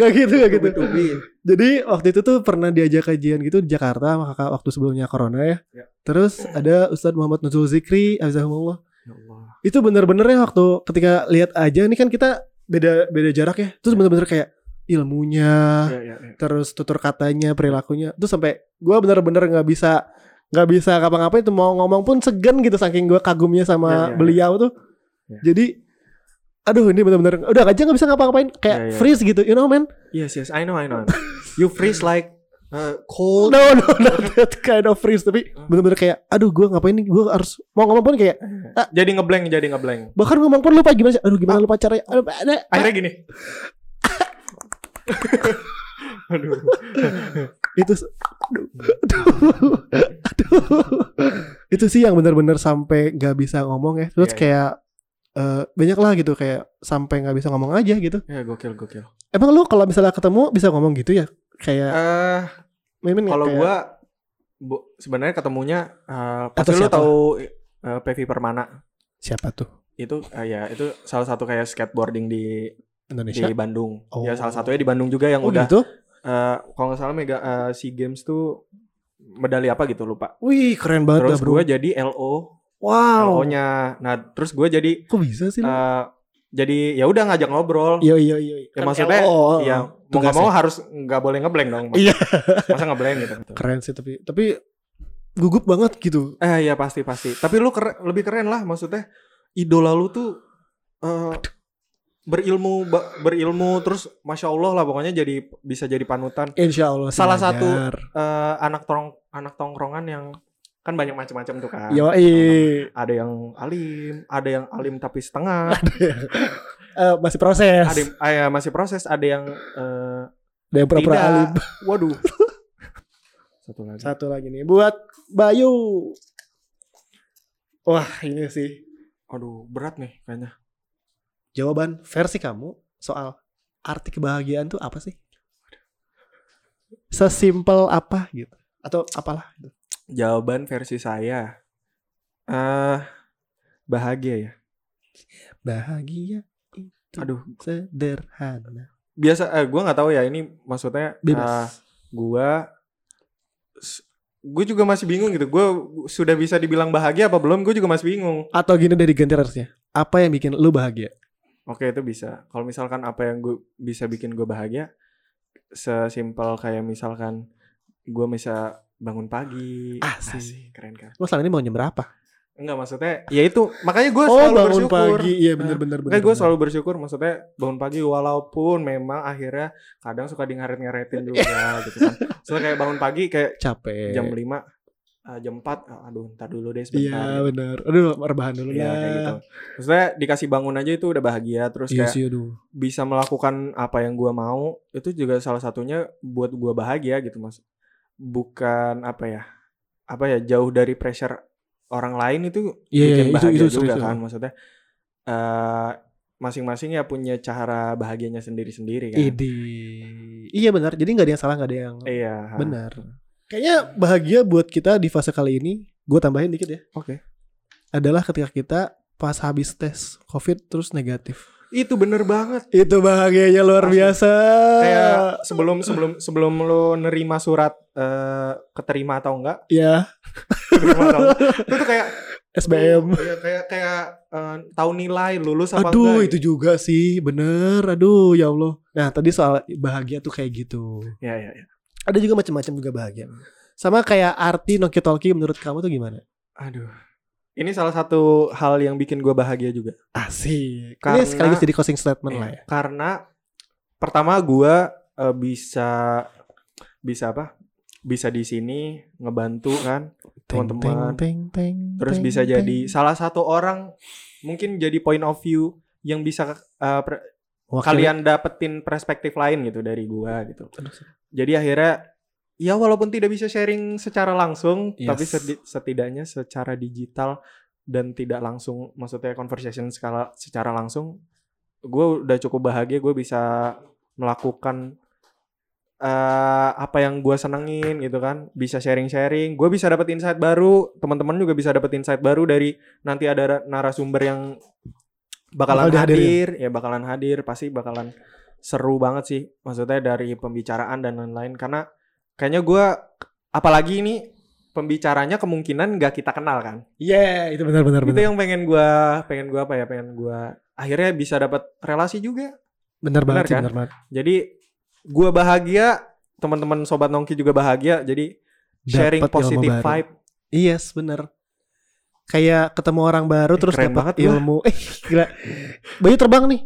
Speaker 1: Gak gitu, gak gitu.
Speaker 2: Ya
Speaker 1: Jadi waktu itu tuh pernah diajak kajian gitu di Jakarta sama kakak waktu sebelumnya corona ya.
Speaker 2: Ya.
Speaker 1: Terus ada Ustadz Muhammad Nuzul Zikri, Azizahumullah.
Speaker 2: Ya Allah.
Speaker 1: Itu bener-benernya waktu ketika lihat aja ini kan kita beda beda jarak ya. Terus bener-bener kayak ilmunya,
Speaker 2: Ya, ya, ya.
Speaker 1: terus tutur katanya, perilakunya. Terus sampai gua bener-bener nggak bisa nggak bisa ngapa-ngapain itu mau ngomong pun segan gitu saking gua kagumnya
Speaker 2: Ya, ya,
Speaker 1: sama
Speaker 2: ya.
Speaker 1: beliau tuh.
Speaker 2: Ya.
Speaker 1: Jadi aduh ini bener-bener udah aja nggak bisa ngapa-ngapain kayak
Speaker 2: Ya, ya.
Speaker 1: freeze gitu, you know man.
Speaker 2: Yes, yes, I know, I know. I know. you freeze like uh, cold.
Speaker 1: No no not that kind of freeze tapi
Speaker 2: Hah?
Speaker 1: bener-bener kayak aduh gue ngapain nih gue harus mau ngomong pun kayak
Speaker 2: Jadi ngeblank, jadi ngeblank.
Speaker 1: bahkan ngomong pun lupa gimana sih aduh
Speaker 2: Ah.
Speaker 1: gimana lupa caranya aduh, ada
Speaker 2: Akhirnya gini. Aduh.
Speaker 1: itu s- aduh aduh aduh itu sih yang bener-bener sampai nggak bisa ngomong ya terus
Speaker 2: Iya, iya.
Speaker 1: kayak eh, banyak lah gitu kayak sampai nggak bisa ngomong aja gitu
Speaker 2: Ya gokil gokil.
Speaker 1: emang lu kalau misalnya ketemu bisa ngomong gitu ya kayak
Speaker 2: Eh
Speaker 1: mimin nggak
Speaker 2: kalau
Speaker 1: kayak-
Speaker 2: gua bu, sebenarnya ketemunya eh,
Speaker 1: Atau
Speaker 2: pasti lu
Speaker 1: siapa?
Speaker 2: tahu eh, Pevi Permana
Speaker 1: siapa tuh
Speaker 2: itu eh, ya itu salah satu kayak skateboarding di
Speaker 1: Indonesia
Speaker 2: di Bandung.
Speaker 1: Oh.
Speaker 2: Ya salah satunya di Bandung juga yang
Speaker 1: oh
Speaker 2: udah
Speaker 1: gitu
Speaker 2: eh, kalau nggak salah mega eh, Sea Games tuh medali apa gitu lupa.
Speaker 1: wih keren banget
Speaker 2: Terus
Speaker 1: dah, bro
Speaker 2: gua jadi LO,
Speaker 1: wow
Speaker 2: LO-nya. Nah, terus gua jadi
Speaker 1: kok bisa sih lu
Speaker 2: eh, jadi ya udah ngajak ngobrol.
Speaker 1: iya iya iya
Speaker 2: Ya, maksudnya,
Speaker 1: oh,
Speaker 2: Iya, mau nggak
Speaker 1: tugasnya.
Speaker 2: mau harus nggak boleh ngeblank dong. Mas.
Speaker 1: Iya.
Speaker 2: Masa ngeblank gitu.
Speaker 1: keren sih tapi tapi gugup banget gitu
Speaker 2: Eh ya pasti pasti. Tapi lu kere- lebih keren lah maksudnya. Idola lu tuh eh, berilmu ba- berilmu terus masya Allah lah pokoknya jadi bisa jadi panutan.
Speaker 1: insya Allah sih
Speaker 2: Salah
Speaker 1: lancar.
Speaker 2: satu. Eh, anak tong anak tongkrongan yang kan banyak macam-macam tuh kan.
Speaker 1: yo eh
Speaker 2: Ada yang alim, ada yang alim tapi setengah,
Speaker 1: Eh, masih proses
Speaker 2: ada yang ah, ya, masih proses, ada yang eh,
Speaker 1: ada yang pura-pura
Speaker 2: tidak.
Speaker 1: alim
Speaker 2: Waduh. Satu lagi.
Speaker 1: satu lagi nih buat Bayu wah ini sih
Speaker 2: Aduh, berat nih kayaknya.
Speaker 1: jawaban versi kamu soal arti kebahagiaan tuh apa sih sesimpel apa gitu atau apalah gitu.
Speaker 2: Jawaban versi saya eh bahagia ya.
Speaker 1: bahagia itu
Speaker 2: Aduh,
Speaker 1: sederhana
Speaker 2: biasa eh gua nggak tahu ya ini maksudnya eh,
Speaker 1: bebas
Speaker 2: gua gue juga masih bingung gitu. Gue sudah bisa dibilang bahagia apa belum? Gue juga masih bingung.
Speaker 1: atau gini dari ganti harusnya apa yang bikin lu bahagia
Speaker 2: Oke, itu bisa. Kalau misalkan apa yang gue bisa bikin gue bahagia sesimpel kayak misalkan gue bisa bangun pagi.
Speaker 1: Asik.
Speaker 2: keren kan.
Speaker 1: lu selama ini mau berapa
Speaker 2: Enggak maksudnya ya itu makanya gue
Speaker 1: Oh
Speaker 2: selalu
Speaker 1: bangun
Speaker 2: bersyukur.
Speaker 1: pagi Iya
Speaker 2: Nah,
Speaker 1: bener-bener
Speaker 2: Makanya gue selalu bersyukur maksudnya bangun pagi walaupun memang akhirnya kadang suka di ngaret-ngaretin juga gitu kan. Soalnya kayak bangun pagi kayak
Speaker 1: Capek
Speaker 2: jam 5 eh, jam 4 ah, aduh ntar dulu deh
Speaker 1: Iya
Speaker 2: sebentar. gitu.
Speaker 1: bener Aduh rebahan dulu
Speaker 2: Iya,
Speaker 1: lah
Speaker 2: kayak gitu. Maksudnya dikasih bangun aja itu udah bahagia terus
Speaker 1: Iya
Speaker 2: kayak
Speaker 1: sih aduh
Speaker 2: bisa melakukan apa yang gua mau itu juga salah satunya buat gua bahagia gitu Mas. Bukan apa ya? Apa ya jauh dari pressure orang lain itu
Speaker 1: Iya iya
Speaker 2: bikin
Speaker 1: itu
Speaker 2: bahagia
Speaker 1: itu,
Speaker 2: juga
Speaker 1: itu.
Speaker 2: kan maksudnya eh, masing-masing ya punya cara bahagianya sendiri-sendiri kan
Speaker 1: Idi. Iya benar Jadi gak ada yang salah Gak ada yang
Speaker 2: iya ha.
Speaker 1: benar Kayaknya bahagia buat kita di fase kali ini Gue tambahin dikit ya
Speaker 2: oke
Speaker 1: Adalah ketika kita Pas habis tes covid terus negatif
Speaker 2: itu bener banget
Speaker 1: Itu bahagianya luar
Speaker 2: Asli.
Speaker 1: biasa Eh,
Speaker 2: kayak sebelum sebelum sebelum lo nerima surat eh, keterima atau enggak
Speaker 1: Ya
Speaker 2: keterima atau enggak, itu tuh kayak
Speaker 1: SBM
Speaker 2: iya, kayak kayak eh, tahu nilai lulus
Speaker 1: Aduh
Speaker 2: apa enggak gitu. ya?
Speaker 1: itu juga sih Bener Aduh ya Allah Nah tadi soal bahagia tuh kayak gitu
Speaker 2: ya ya, ya.
Speaker 1: ada juga macam-macam juga bahagia. Sama kayak arti Noki Talki menurut kamu tuh gimana?
Speaker 2: aduh ini salah satu hal yang bikin gue bahagia juga
Speaker 1: Asik. Ini
Speaker 2: Karena-
Speaker 1: sekaligus jadi closing statement
Speaker 2: Iya,
Speaker 1: lah ya.
Speaker 2: Karena pertama gua eh, bisa bisa apa? Bisa di sini ngebantu kan. teman-teman.
Speaker 1: teng, teng,
Speaker 2: Terus
Speaker 1: teng,
Speaker 2: bisa
Speaker 1: teng.
Speaker 2: jadi salah satu orang mungkin jadi point of view yang bisa eh, per-
Speaker 1: Wakil-
Speaker 2: kalian dapetin perspektif lain gitu dari gua gitu. Jadi akhirnya ya walaupun tidak bisa sharing secara langsung
Speaker 1: Yes.
Speaker 2: tapi sedi- setidaknya secara digital dan tidak langsung maksudnya conversation skala secara langsung gue udah cukup bahagia gue bisa melakukan eh, apa yang gue senengin gitu kan bisa sharing-sharing gue bisa dapet insight baru teman-teman juga bisa dapet insight baru dari nanti ada ra- narasumber yang bakalan
Speaker 1: Bakal dihadirin.
Speaker 2: hadir ya bakalan hadir pasti bakalan seru banget sih maksudnya dari pembicaraan dan lain-lain karena kayaknya gue apalagi ini pembicaranya kemungkinan gak kita kenal kan
Speaker 1: Yeah, itu benar-benar
Speaker 2: itu
Speaker 1: benar.
Speaker 2: yang pengen gue pengen gue apa ya pengen gue akhirnya bisa dapat relasi juga
Speaker 1: Benar banget,
Speaker 2: Benar
Speaker 1: sih,
Speaker 2: kan?
Speaker 1: benar banget.
Speaker 2: jadi gue bahagia teman-teman sobat nongki juga bahagia jadi sharing
Speaker 1: Dapet ilmu
Speaker 2: positive
Speaker 1: baru.
Speaker 2: vibe
Speaker 1: Yes, benar. Kayak ketemu orang baru
Speaker 2: Eh,
Speaker 1: terus
Speaker 2: keren
Speaker 1: dapat
Speaker 2: banget gua.
Speaker 1: ilmu. Eh, gila. Bayu terbang nih.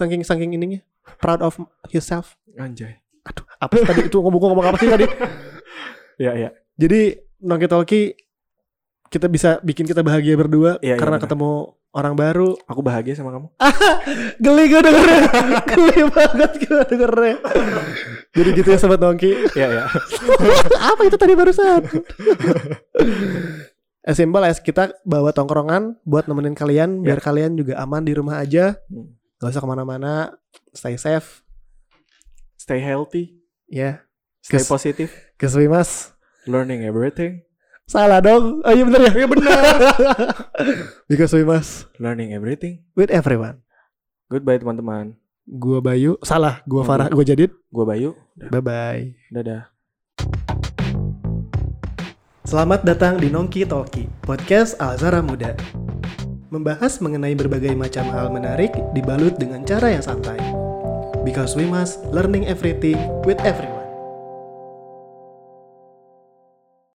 Speaker 1: Saking saking ininya. Proud of yourself.
Speaker 2: anjay
Speaker 1: Aduh, apa sih tadi itu ngomong ngomong apa sih tadi?
Speaker 2: ya ya
Speaker 1: Jadi Nongki Talki kita bisa bikin kita bahagia berdua
Speaker 2: Iya, iya,
Speaker 1: karena
Speaker 2: benar.
Speaker 1: ketemu orang baru.
Speaker 2: aku bahagia sama kamu
Speaker 1: Geli gue dengernya, geli banget gue dengernya. Jadi gitu ya sobat Nongki.
Speaker 2: ya ya
Speaker 1: apa itu tadi barusan? as simple as kita bawa tongkrongan buat nemenin kalian biar kalian juga aman di rumah aja,
Speaker 2: Hmm.
Speaker 1: gak usah kemana-mana, stay safe,
Speaker 2: stay healthy
Speaker 1: ya.
Speaker 2: stay
Speaker 1: Kes-
Speaker 2: positive
Speaker 1: Kesui mas.
Speaker 2: learning everything
Speaker 1: Salah dong. Oh iya bener ya. Iya bener. Because we must
Speaker 2: learning everything
Speaker 1: with everyone.
Speaker 2: goodbye teman-teman
Speaker 1: Gua Bayu, salah, gua
Speaker 2: Oh,
Speaker 1: Farah, gua Jadid.
Speaker 2: gue Bayu
Speaker 1: Bye bye.
Speaker 2: dadah
Speaker 1: Selamat datang di Nongki Talki, podcast Alzara Muda. Membahas mengenai berbagai macam hal menarik dibalut dengan cara yang santai. Because we must learning everything with everyone.